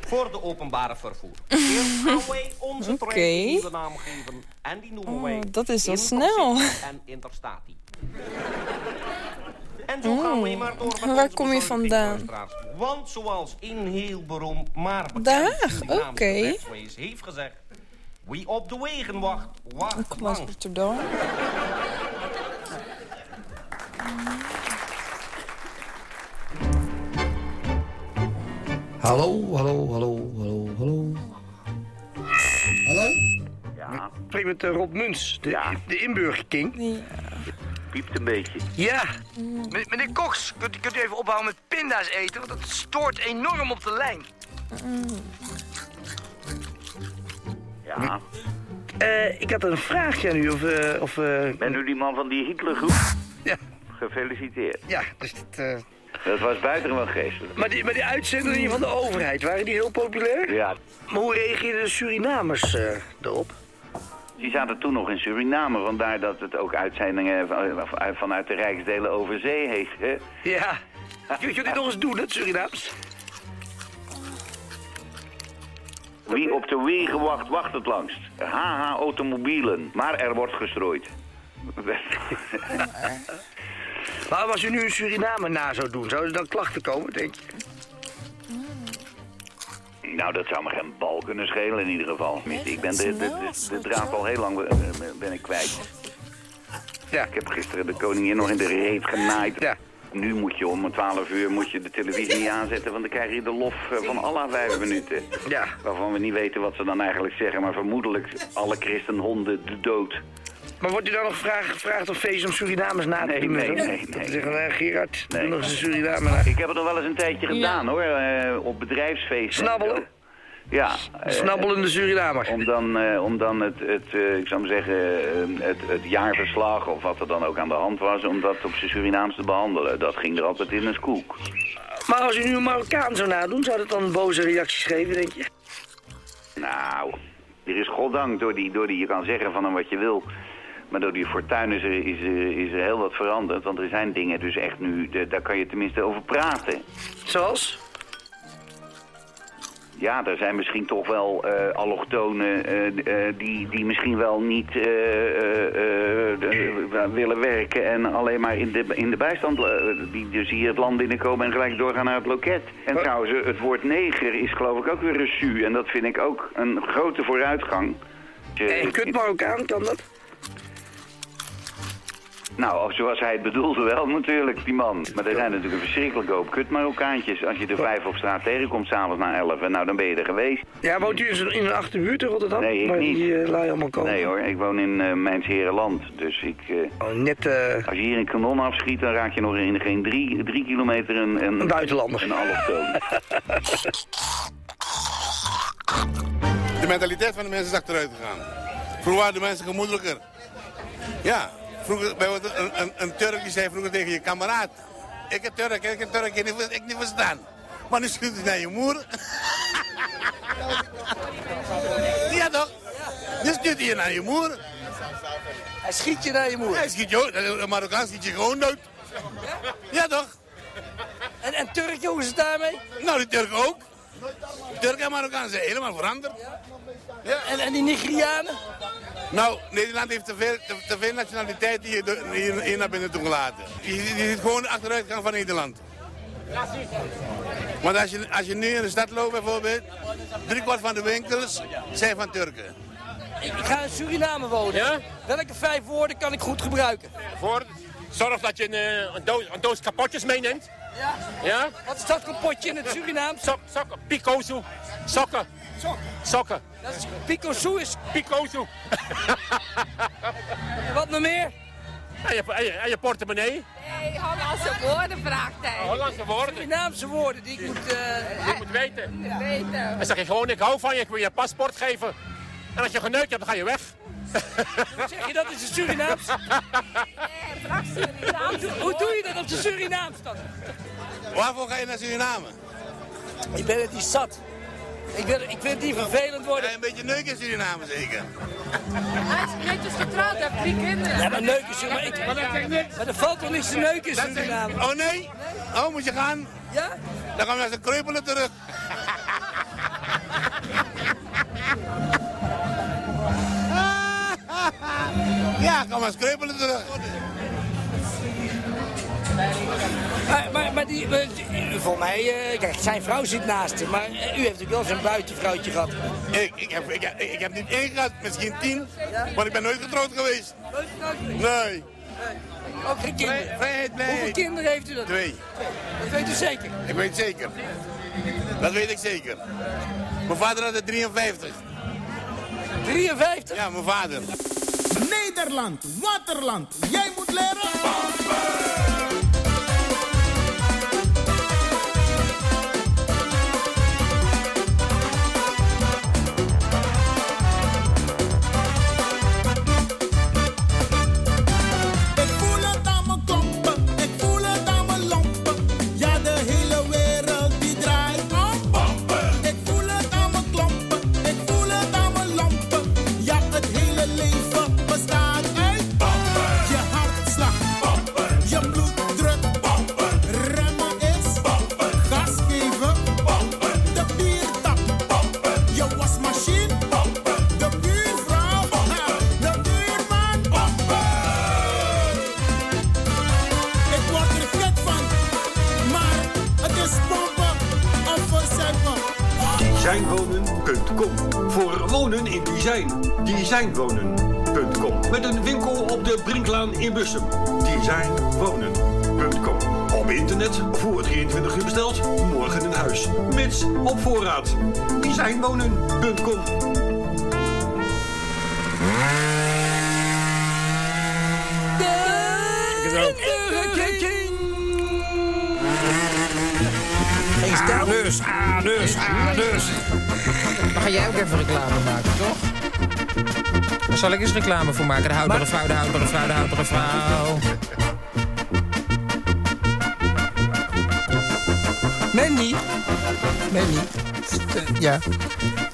Speaker 20: voor de openbare vervoer. Eerst gaan wij onze
Speaker 9: Oké.
Speaker 20: trein een nieuwe naam geven. En die noemen
Speaker 9: Oh,
Speaker 20: wij...
Speaker 9: dat oh. is wel
Speaker 20: Intercity
Speaker 9: snel.
Speaker 20: En Interstati.
Speaker 9: Mm, Waar kom je vandaan?
Speaker 20: Want zoals een heel beroemd maar bekend
Speaker 9: Daar,
Speaker 20: Surinaamse
Speaker 9: oké.
Speaker 20: rechtswijs heeft gezegd... Wie op de wegen wacht, wacht
Speaker 9: Kom uit Rotterdam.
Speaker 8: Hallo, hallo, hallo, hallo, hallo. Hallo?
Speaker 2: Ja. Spreek met eh, Rob Muns, de, de inburgerking.
Speaker 10: Piept een beetje.
Speaker 2: Ja. M- Meneer Koks, kunt, u- kunt u even ophouden met pinda's eten? Want dat stoort enorm op de lijn.
Speaker 10: Ja.
Speaker 2: Eh, ik had een vraagje aan u. Of, eh, of,
Speaker 10: Ben u die man van die Hitlergroep?
Speaker 2: Ja.
Speaker 10: Gefeliciteerd.
Speaker 2: Ja, dus dat... eh,
Speaker 10: Dat was buitengewoon geestelijk.
Speaker 2: Maar die, maar die uitzendingen van de overheid, waren die heel populair?
Speaker 10: Ja.
Speaker 2: Maar hoe reageerden de Surinamers eh erop?
Speaker 10: Die zaten toen nog in Suriname, vandaar dat het ook uitzendingen van- van- vanuit de Rijksdelen over zee heet. hè?
Speaker 2: Ja. Kun je dit nog eens doen, het Surinaams?
Speaker 10: Wie op de wegen wacht, wacht het langst. HH automobielen, maar er wordt gestrooid.
Speaker 2: Maar als u nu een Surinamer na zou doen, zouden er dan klachten komen, denk je?
Speaker 10: nou, dat zou me geen bal kunnen schelen in ieder geval. Ik ben de, de, de, de draad al heel lang eh, ben ik kwijt.
Speaker 2: Ja.
Speaker 10: Ik heb gisteren de koningin nog in de reet genaaid. Ja. Nu moet je om 12 uur moet je de televisie niet aanzetten, want dan krijg je de lof eh, van Allah vijf minuten.
Speaker 2: Ja.
Speaker 10: Waarvan we niet weten wat ze dan eigenlijk zeggen, maar vermoedelijk alle christenhonden de dood.
Speaker 2: Maar wordt u dan nog vraag- gevraagd of feest om Surinamers na te
Speaker 10: Nee,
Speaker 2: doen?
Speaker 10: nee,
Speaker 2: Dan-
Speaker 10: nee,
Speaker 2: Dan zeggen wij, Eh, Gerard,
Speaker 10: Nee.
Speaker 2: doe nog eens een Surinamer na.
Speaker 10: Ik heb het nog wel eens een tijdje gedaan hoor, eh, op bedrijfsfeesten.
Speaker 2: Snabbelen?
Speaker 10: Ja. eh,
Speaker 2: Snabbelende Surinamer.
Speaker 10: Om dan, eh, om dan het, het eh, ik zou maar zeggen, eh, het, het jaarverslag of wat er dan ook aan de hand was, om dat op zijn Surinaams te behandelen. Dat ging er altijd in een koek.
Speaker 2: Maar als u nu een Marokkaan zou nadoen, zou dat dan boze reacties geven, denk je?
Speaker 10: Nou, er is goddank door die, door die, je kan zeggen van hem wat je wil. Maar door die fortuin is er, is, er, is er heel wat veranderd. Want er zijn dingen dus echt nu, de- daar kan je tenminste over praten.
Speaker 2: Zoals?
Speaker 10: Ja, er zijn misschien toch wel eh allochtonen eh, eh, die, die misschien wel niet eh, eh, eh, de- willen werken en alleen maar in de, in de bijstand. eh, die dus hier het land binnenkomen en gelijk doorgaan naar het loket. En trouwens, eh, het woord neger is geloof ik ook weer recu. En dat vind ik ook een grote vooruitgang.
Speaker 2: En kut Marokkaan, kan dat?
Speaker 10: Nou, of zoals hij het bedoelde wel natuurlijk, die man. Maar er zijn natuurlijk een verschrikkelijke hoop kut Marokkaantjes. Als je er vijf op straat tegenkomt s'avonds na elf, en nou dan ben je er geweest.
Speaker 2: Ja, woont u in zo'n- in een achterbuurt in Rotterdam?
Speaker 10: Nee, ik
Speaker 2: Waar
Speaker 10: niet.
Speaker 2: die eh, lui allemaal komen?
Speaker 10: Nee hoor, ik woon in eh Mijnsherenland. Dus ik... eh,
Speaker 2: Oh, net...
Speaker 10: Als je hier een kanon afschiet, dan raak je nog in geen drie, drie kilometer een... Een,
Speaker 2: buitenlander.
Speaker 10: Een allochtoon.
Speaker 22: De mentaliteit van de mensen is achteruit gegaan. Vroeger waren de mensen gemoedelijker. Ja, vroeger, bij wat- een, een, een Turk die zei vroeger tegen je kameraad... Ik heb Turk, ik heb Turk, ik niet, ver- ik niet verstaan. Maar nu schiet hij naar je moeder. ja toch? Nu stuurt hij je naar je moeder. Hij schiet je naar je moeder? Hij schiet je ook. Een Marokkaan schiet je gewoon dood. Ja toch? En, en Turk, hoe is het daarmee? Nou, die Turk ook. Turken en Marokkanen zijn helemaal veranderd. Ja.
Speaker 3: En, en die Nigerianen?
Speaker 22: Nou, Nederland heeft te veel, te, te veel nationaliteiten hier, do- hier, hier naar binnen toegelaten. Je, ziet- je ziet gewoon de achteruitgang van Nederland. Want als je, als je nu in de stad loopt bijvoorbeeld, driekwart van de winkels zijn van Turken.
Speaker 3: Ik, ik ga in Suriname wonen. Welke vijf woorden kan ik goed gebruiken?
Speaker 4: Voor, zorg dat je een, eh, een, doos, een doos kapotjes meeneemt.
Speaker 3: Ja.
Speaker 4: Ja?
Speaker 3: Wat is dat kapotje in het Surinaams?
Speaker 4: Sok, sokken, picozo. Sokken.
Speaker 3: Sokken.
Speaker 4: Sokken.
Speaker 3: Dat is, picozo is...
Speaker 4: Picozo.
Speaker 3: Wat nog meer?
Speaker 4: En je, en je, en je portemonnee.
Speaker 3: Nee, Hollandse woorden vraagt hij.
Speaker 4: Hollandse woorden.
Speaker 3: Surinaamse woorden die ik moet... eh,
Speaker 4: Je moet weten.
Speaker 3: weten.
Speaker 4: Dan zeg je gewoon, ik hou van je, ik wil je paspoort geven. En als je geneukt hebt, dan ga je weg.
Speaker 3: Hoe zeg je dat in zijn Surinaams? Hoe doe- Hoe doe je dat op zijn Surinaams dan?
Speaker 22: Waarvoor ga je naar Suriname?
Speaker 3: Ik ben het niet zat. Ik, ben, ik vind die vervelend worden.
Speaker 22: Een beetje neuk in Suriname zeker.
Speaker 3: Hij is netjes getrouwd, hij heeft drie kinderen. Ja, maar neuken is maar ik. Maar dat zegt niks. Maar er valt toch niks te neuken in
Speaker 22: Dat zegt-
Speaker 3: Suriname?
Speaker 22: Oh nee? Oh, moet je gaan?
Speaker 3: Ja?
Speaker 22: Dan gaan we naar zijn kreupelen terug. ja, gaan we naar zijn kreupelen terug.
Speaker 3: Maar, maar, maar die, maar die- voor mij, eh, kijk, zijn vrouw zit naast hem, maar eh, u heeft ook wel zijn buitenvrouwtje gehad.
Speaker 22: Ik, ik, heb, ik, heb- ik heb niet één gehad, misschien tien. Want ik ben nooit getrouwd geweest. Nee.
Speaker 3: Ook geen kinderen.
Speaker 22: Vrijheid, vrijheid.
Speaker 3: Hoeveel kinderen heeft u dat?
Speaker 22: Twee.
Speaker 3: Dat weet u zeker.
Speaker 22: Ik weet het zeker. Dat weet ik zeker. Mijn vader had er 53.
Speaker 3: 53?
Speaker 22: Ja, mijn vader.
Speaker 5: Nederland, Waterland, jij moet leren. Ik voel het aan mijn klompen, ik voel het aan mijn lompen. Ja, de hele wereld die draait om pompen. Ik voel het aan mijn klompen, ik voel het aan mijn lompen. Ja, het hele leven bestaat uit pompen. Je hartslag, pompen. Je bloeddruk, pompen. Remmen is pompen. Gas geven, pompen. De biertap, pompen. Je wasmachine, pompen. De buurvrouw, pompen. De buurman, pompen. Ik word er gek van, maar het is pompen of verzuipen.
Speaker 11: Zijnwonen.com voor wonen in design. Designwonen.com met een winkel op de Brinklaan in Bussum. Designwonen.com op internet voor 23 uur besteld, morgen in huis. Mits op voorraad. Designwonen.com
Speaker 6: dus, ah, dus, ah, dus. Dan ga jij ook even reclame maken, toch? Daar zal ik eens reclame voor maken. De houdbare vrouw, de houdbare vrouw, de houdbare vrouw.
Speaker 3: Manny. Manny.
Speaker 21: eh, Ja.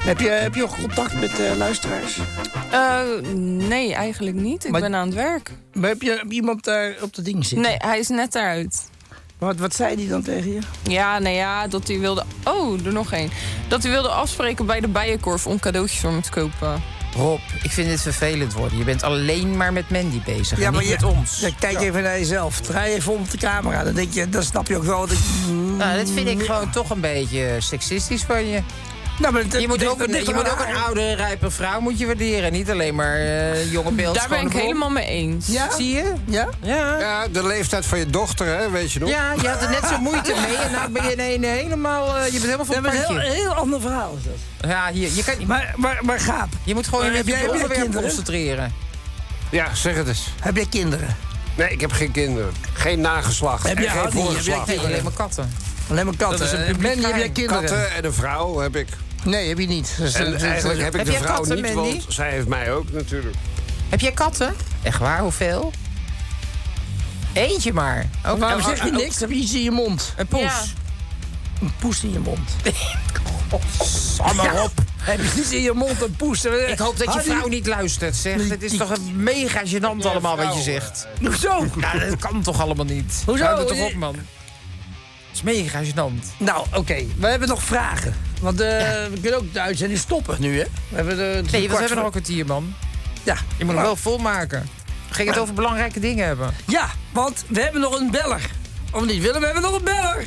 Speaker 21: Heb je, heb je contact met eh, luisteraars?
Speaker 9: Eh, nee, eigenlijk niet. Ik ben aan het werk.
Speaker 21: Maar heb je, heb je iemand daar op dat ding zitten?
Speaker 9: Nee, hij is net daaruit.
Speaker 21: Wat, wat zei die dan tegen je?
Speaker 9: Ja, nou ja, dat hij wilde... Oh, er nog één. Dat hij wilde afspreken bij de Bijenkorf om cadeautjes voor me te kopen.
Speaker 6: Rob, ik vind dit vervelend worden. Je bent alleen maar met Mandy bezig, ja,
Speaker 21: Ja,
Speaker 6: niet
Speaker 21: maar
Speaker 6: maar
Speaker 21: je,
Speaker 6: met ons.
Speaker 21: Ja, kijk even naar jezelf. Draai even om de camera. Dan, denk je, dan snap je ook wel dat ik...
Speaker 6: Nou, dat vind ik gewoon toch een beetje seksistisch van je.
Speaker 21: Nou, maar
Speaker 6: je moet
Speaker 21: dit-
Speaker 6: ook een,
Speaker 21: dit
Speaker 6: je
Speaker 21: wel
Speaker 6: moet ook
Speaker 21: aan.
Speaker 6: een oudere, rijpe vrouw moet je waarderen. Niet alleen maar eh, jonge beeld.
Speaker 9: Daar ben ik helemaal mee eens.
Speaker 6: Zie je?
Speaker 21: Ja?
Speaker 6: Ja.
Speaker 23: Ja, de leeftijd van je dochter, hè, weet je nog?
Speaker 6: Ja, je had er net zo moeite mee. En nou ben je ineens helemaal...
Speaker 21: Oh,
Speaker 6: eh, je bent helemaal van
Speaker 21: Dat
Speaker 6: het
Speaker 21: is een heel,
Speaker 6: padje.
Speaker 21: heel ander verhaal. is dat.
Speaker 6: Ja, hier. Je kan,
Speaker 21: maar, maar, maar Gaap...
Speaker 6: Je moet gewoon
Speaker 21: maar
Speaker 6: je
Speaker 21: heb
Speaker 6: op
Speaker 21: jij-
Speaker 6: je
Speaker 21: heb jij
Speaker 6: onderwerp
Speaker 21: kinderen?
Speaker 6: concentreren.
Speaker 8: Ja, zeg het eens.
Speaker 21: Heb jij kinderen?
Speaker 8: Nee, ik heb geen kinderen. Geen nageslacht.
Speaker 21: Heb
Speaker 8: En
Speaker 21: jij-
Speaker 8: geen
Speaker 21: had niet, heb jij
Speaker 8: voorgeslacht.
Speaker 21: kinderen?
Speaker 6: Alleen maar katten.
Speaker 21: eh, Alleen maar katten.
Speaker 8: Dat is een
Speaker 21: Eh,
Speaker 8: publiek
Speaker 21: Mandy, heb jij
Speaker 8: geheim.
Speaker 21: kinderen?
Speaker 8: Katten en een vrouw heb ik.
Speaker 21: Nee, heb je niet. Dus,
Speaker 8: En
Speaker 21: eh, dus-
Speaker 8: eigenlijk
Speaker 21: dus-
Speaker 8: heb ik de vrouw niet, want zij heeft mij ook natuurlijk.
Speaker 6: Heb jij katten? Echt waar? Hoeveel? Oh, Eentje maar. Ook
Speaker 21: Waarom
Speaker 6: en-
Speaker 21: zeg je
Speaker 6: en-
Speaker 21: niks? Heb je iets in je mond?
Speaker 6: Een poes. Ja. Oh,
Speaker 21: Een poes in je mond.
Speaker 6: Samme
Speaker 21: Ja.
Speaker 6: op.
Speaker 21: Heb je iets in je mond, een poes?
Speaker 6: oh, Ik hoop dat je vrouw niet luistert, zeg. Het is toch een mega gênant allemaal wat je zegt.
Speaker 21: Hoezo?
Speaker 6: Nou, dat kan toch allemaal niet?
Speaker 21: Hoezo?
Speaker 6: Houd het toch op, man. Het is mega gênant.
Speaker 21: Nou, oké. We hebben nog vragen.
Speaker 2: Want eh, we kunnen ook de uitzending stoppen nu, hè? We hebben de, het is
Speaker 6: Nee,
Speaker 2: een
Speaker 6: want we
Speaker 2: kwart
Speaker 6: hebben nog
Speaker 2: voor-
Speaker 6: een kwartier, man.
Speaker 2: Ja.
Speaker 6: Je moet nog wel volmaken. We gingen het over belangrijke dingen hebben.
Speaker 2: Ja, want we hebben nog een beller. Of niet, Willem? We hebben nog een beller.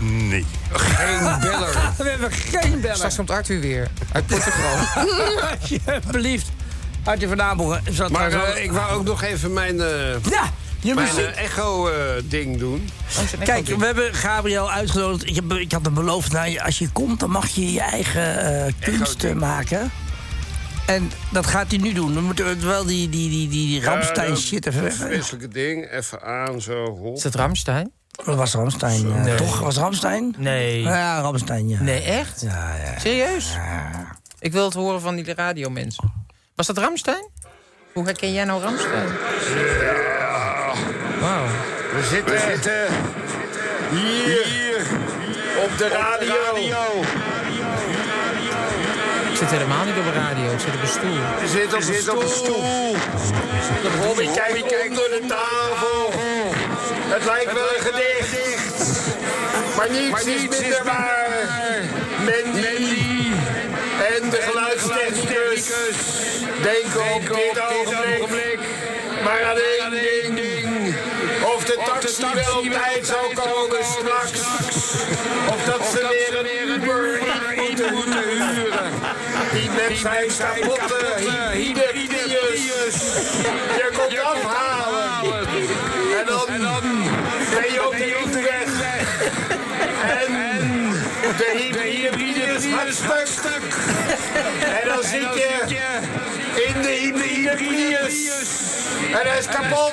Speaker 24: Nee.
Speaker 6: Geen beller.
Speaker 2: we hebben geen beller.
Speaker 6: Straks komt Arthur weer. Uit Portugal.
Speaker 2: Alsjeblieft. Arthur van Amerongen. zat
Speaker 5: Maar
Speaker 2: daar,
Speaker 5: eh,
Speaker 2: eh,
Speaker 5: ik wou ook nog even mijn, eh,
Speaker 2: Ja, je
Speaker 5: mijn eh,
Speaker 2: muziek.
Speaker 5: echo-ding doen.
Speaker 8: Oh,
Speaker 2: Kijk, we hebben Gabriel uitgenodigd. Ik, heb, ik had hem beloofd, nou, je- als je komt, dan mag je je eigen eh, kunst eh, maken. En dat gaat hij nu doen. Dan moeten we wel die, die, die, die,
Speaker 8: Eh,
Speaker 2: die Ramstein shit even
Speaker 5: Dat
Speaker 2: weg.
Speaker 5: vreselijke ding, even aan, zo. Hop.
Speaker 6: Is dat Ramstein?
Speaker 2: Dat was Ramstein. eh,
Speaker 6: Nee.
Speaker 2: Toch? Was Ramstein?
Speaker 6: Nee.
Speaker 2: Ja, Ramstein, ja.
Speaker 6: Nee, echt?
Speaker 2: Ja, ja.
Speaker 6: Serieus? Ik wil het horen van die radiomensen. Was dat Ramstein? Hoe herken jij nou Ramstein? Wauw.
Speaker 5: We zitten, hier, op de radio.
Speaker 6: Ik zit helemaal niet op een radio, ik zit op een stoel.
Speaker 5: We zitten op, zit op de stoel. De Robby kijkt onder de tafel. Het lijkt wel een gedicht. Maar niets maar niet minder waar. Mandy. En de geluidstechnicus denken op dit ogenblik. Maar aan één ding. Of de taxi wel op tijd zou komen straks. Of dat ze weer een Uber moeten huren. Die mens zijn kapotte hydertius. Je komt afhalen. En dan ben je op de Utrecht. En de hybride hartstuk. En dan zit je in de hybride En hij is kapot.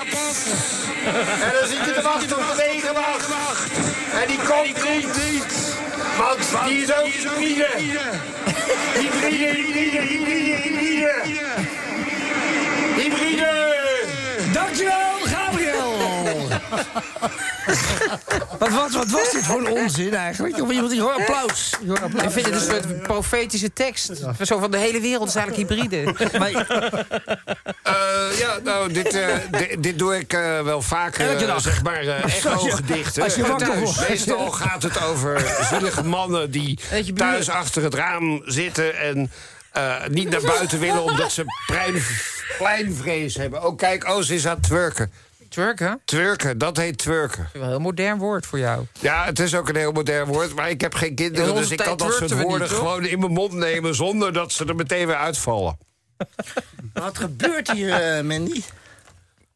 Speaker 5: En dan zit je te wachten op de regenwacht. En die komt niet. Want die is ook hybride. Hybride, hybride, hybride, hybride. Hybride!
Speaker 2: Dankjewel, Gabriel! wat, wat, wat was dit voor een onzin eigenlijk? Of iemand die hoor applaus. Ik hoor applaus.
Speaker 6: Ik vind het een soort profetische tekst. Zo van de hele wereld is eigenlijk hybride.
Speaker 5: Eh, ja, nou, dit, eh, di- dit doe ik eh, wel vaker,
Speaker 6: Elke dag.
Speaker 5: zeg maar, eh echo-gedichten.
Speaker 6: Als je wakker
Speaker 5: thuis.
Speaker 6: wordt.
Speaker 5: Meestal gaat het over zielige mannen die
Speaker 6: Eet je bier.
Speaker 5: thuis achter het raam zitten... en eh, niet naar buiten willen omdat ze plein, pleinvrees hebben. Oh, kijk, oh, ze is aan het twerken.
Speaker 6: Twerken?
Speaker 5: Twerken, dat heet twerken.
Speaker 6: Wel een heel modern woord voor jou.
Speaker 5: Ja, het is ook een heel modern woord, maar ik heb geen
Speaker 6: In
Speaker 5: kinderen...
Speaker 6: onze
Speaker 5: dus ik
Speaker 6: tijd
Speaker 5: kan dat soort
Speaker 6: twerkten we
Speaker 5: woorden
Speaker 6: niet, hoor.
Speaker 5: gewoon in mijn mond nemen... zonder dat ze er meteen weer uitvallen.
Speaker 2: Wat gebeurt hier, Mandy?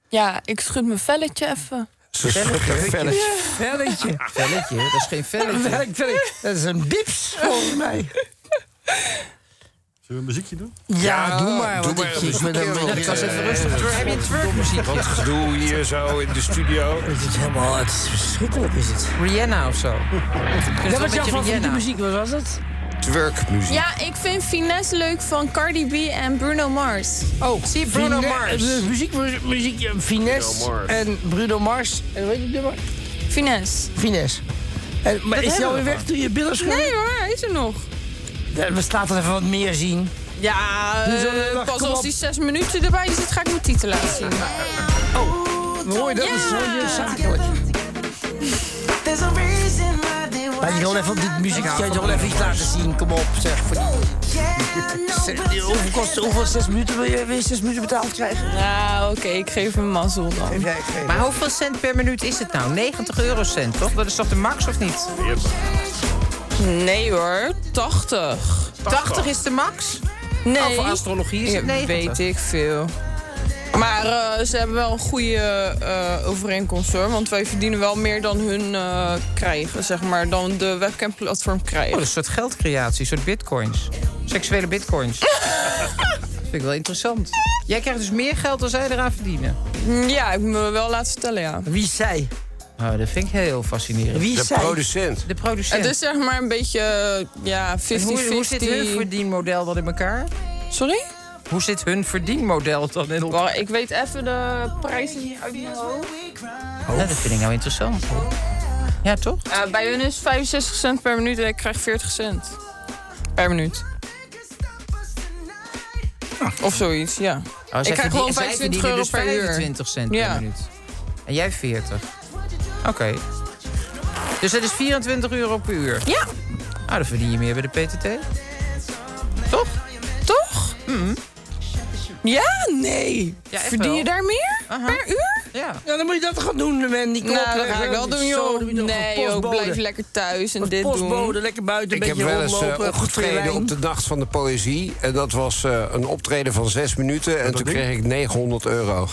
Speaker 9: Ja, ik schud mijn velletje even.
Speaker 5: Ze schudt een velletje.
Speaker 2: Velletje.
Speaker 6: Velletje, dat is geen velletje.
Speaker 2: Velk, velk. Dat is een bips, volgens mij.
Speaker 8: Zullen we een muziekje doen?
Speaker 2: Ja, doe
Speaker 6: Oh.
Speaker 2: maar.
Speaker 5: doe
Speaker 2: want
Speaker 5: maar
Speaker 2: ik-
Speaker 5: een
Speaker 2: ik eh, ben
Speaker 5: muziekje,
Speaker 2: een
Speaker 5: want,
Speaker 2: beetje-
Speaker 5: ik was
Speaker 8: eh,
Speaker 5: even
Speaker 6: rustig. Twerk- Heb je twerkmuziek?
Speaker 5: Wat gedoe hier zo in de studio.
Speaker 2: Het is helemaal het is verschrikkelijk, is het.
Speaker 6: Rihanna of zo.
Speaker 2: Ja, wat jouw
Speaker 6: van
Speaker 2: favoriete muziek was, was het?
Speaker 5: Twerkmuziek.
Speaker 9: Ja, ik vind Finesse leuk van Cardi B en Bruno Mars.
Speaker 2: Oh,
Speaker 6: zie je, Bruno
Speaker 2: Fine-
Speaker 6: Mars.
Speaker 2: eh, Muziek, muziek, muziek eh, Finesse
Speaker 5: Bruno Mars.
Speaker 2: en Bruno Mars. En weet je het nummer?
Speaker 9: Finesse.
Speaker 2: Finesse. En, maar
Speaker 9: Dat
Speaker 2: is hij
Speaker 9: hebben we
Speaker 2: alweer weg toen je billen schoon?
Speaker 9: Nee hoor, hij is er nog.
Speaker 2: Ja, eh, we laten even wat meer zien.
Speaker 9: Ja,
Speaker 2: Doe zo,
Speaker 9: eh,
Speaker 2: wacht,
Speaker 9: pas
Speaker 2: kom
Speaker 9: als
Speaker 2: op.
Speaker 9: die zes minuten erbij zit, ga ik mijn titel laten zien.
Speaker 2: Mooi, Oh, dat is zo eh, zakelijk. Maar je wil even op dit muziek, je wil even iets laten zien. Kom op, zeg. Voor die... hoeveel, kost, hoeveel zes minuten wil je weer zes minuten betaald krijgen?
Speaker 9: Nou, oké, ik geef hem mazzel dan.
Speaker 6: Maar hoeveel cent per minuut is het nou? 90 eurocent, toch? Dat is toch de max, of niet?
Speaker 9: Nee hoor, 80.
Speaker 6: 80 is de max?
Speaker 9: Nee.
Speaker 6: Oh, voor astrologie is het
Speaker 9: Ja,
Speaker 6: 90.
Speaker 9: Weet ik veel. Maar eh, ze hebben wel een goede eh, overeenkomst hoor. Want wij verdienen wel meer dan hun eh, krijgen, zeg maar. Dan de webcamplatform
Speaker 6: Oh,
Speaker 9: krijgen.
Speaker 6: dat is een soort geldcreatie, een soort bitcoins. Seksuele bitcoins. dat vind ik wel interessant. Jij krijgt dus meer geld dan zij eraan verdienen.
Speaker 9: Ja, ik moet me wel laten vertellen, ja.
Speaker 2: Wie is zij?
Speaker 6: Oh, dat vind ik heel fascinerend.
Speaker 2: Wie
Speaker 5: De
Speaker 2: is zij?
Speaker 5: producent.
Speaker 6: De producent.
Speaker 9: Het is zeg maar een beetje, eh, ja, 50-50.
Speaker 6: En hoe, hoe zit hun verdienmodel dan in elkaar?
Speaker 9: Sorry?
Speaker 6: Hoe zit hun verdienmodel dan in elkaar?
Speaker 9: Wacht, Ik weet even de prijzen niet uit mijn hoofd.
Speaker 6: Ja, dat vind ik nou interessant. Ja, toch?
Speaker 9: Eh, bij hun is 65 cent per minuut en ik krijg 40 cent. Per minuut. Of zoiets, ja.
Speaker 6: Oh, zij
Speaker 9: ik krijg
Speaker 6: verdien-
Speaker 9: gewoon
Speaker 6: zij
Speaker 9: 25
Speaker 6: verdienen
Speaker 9: euro
Speaker 6: dus
Speaker 9: per uur.
Speaker 6: 25 cent
Speaker 9: Ja.
Speaker 6: per minuut. En jij 40. Oké. Dus dat is 24 euro per uur.
Speaker 9: Ja.
Speaker 6: Nou, dan verdien je meer bij de PTT. Toch?
Speaker 9: Toch? Mm. Ja? Nee.
Speaker 6: echt
Speaker 9: Verdien je
Speaker 6: wel.
Speaker 9: daar meer per uur?
Speaker 6: Ja.
Speaker 2: Uh-huh. Ja, dan moet je dat gaan doen, man. Die eh,
Speaker 9: Nou, dat ga ik wel doen, joh.
Speaker 2: Nee,
Speaker 9: Nee, ook blijf lekker thuis en dit
Speaker 2: postbode,
Speaker 9: doen.
Speaker 2: lekker buiten, een
Speaker 8: Ik heb
Speaker 2: beetje
Speaker 8: wel eens eh,
Speaker 2: rondlopen. goed voor je
Speaker 8: opgetreden
Speaker 2: wijn.
Speaker 8: op de Nacht van de Poëzie. En dat was eh, een optreden van zes minuten. En toen kreeg ik 900 euro.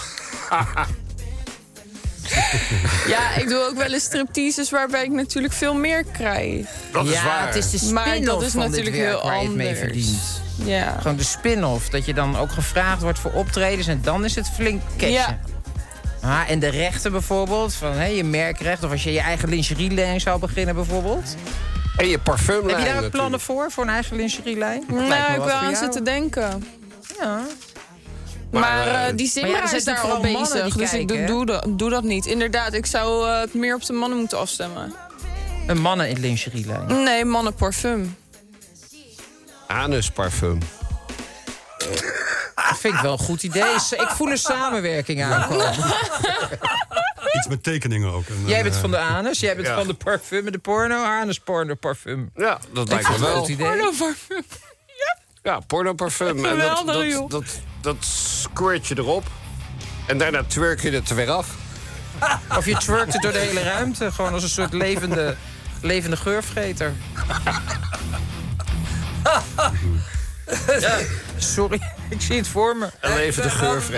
Speaker 9: Ja, ik doe ook wel eens stripteases waarbij ik natuurlijk veel meer krijg.
Speaker 6: Dat is Ja, waar. het is de
Speaker 9: Maar dat
Speaker 6: spin-off
Speaker 9: is
Speaker 6: van dit
Speaker 9: natuurlijk
Speaker 6: werk
Speaker 9: heel
Speaker 6: waar je het mee
Speaker 9: anders.
Speaker 6: verdient.
Speaker 9: Ja.
Speaker 6: Gewoon de spin-off. Dat je dan ook gevraagd wordt voor optredens en dan is het flink cashen.
Speaker 9: Ja.
Speaker 6: Ah, en de rechten bijvoorbeeld, van hè, je merkrecht... of als je je eigen lingerielijn zou beginnen bijvoorbeeld.
Speaker 8: En je
Speaker 6: Heb
Speaker 8: parfumlijn
Speaker 6: je daar ook
Speaker 8: natuurlijk.
Speaker 6: plannen voor, voor een eigen lingerielijn?
Speaker 9: Nou, ik wil aan zitten denken.
Speaker 6: Ja.
Speaker 9: Maar,
Speaker 6: Maar,
Speaker 9: eh, die
Speaker 6: eh, maar ja,
Speaker 9: zingeraar
Speaker 6: er zijn
Speaker 9: is daar al
Speaker 6: natuurlijk vooral mannen
Speaker 9: bezig,
Speaker 6: die
Speaker 9: dus ik
Speaker 6: kijken,
Speaker 9: doe,
Speaker 6: hè?
Speaker 9: doe, dat, doe dat niet. Inderdaad, ik zou eh, het meer op de mannen moeten afstemmen.
Speaker 6: Een mannen in lingerielijn.
Speaker 9: Nee, mannenparfum.
Speaker 8: Anusparfum.
Speaker 6: Dat vind ik wel een goed idee. S- Ik voel een samenwerking aankomen.
Speaker 11: Iets met tekeningen ook. En,
Speaker 6: Jij
Speaker 11: eh,
Speaker 6: bent van de anus, jij bent
Speaker 11: Ja.
Speaker 6: van de parfum en de porno. Anus, porno, parfum.
Speaker 8: Ja, dat lijkt me
Speaker 6: vind het
Speaker 8: wel.
Speaker 6: een goed idee.
Speaker 9: Pornoparfum.
Speaker 8: Ja, pornoparfum. En dat,
Speaker 9: Geweldig,
Speaker 8: dat,
Speaker 9: joh.
Speaker 8: dat, dat squirt je erop. En daarna twerk je het er weer af.
Speaker 6: Of je twerkt het door de hele ruimte. Gewoon als een soort levende, levende geurvreter. Ja, sorry, ik zie het voor me.
Speaker 8: Een levende
Speaker 2: We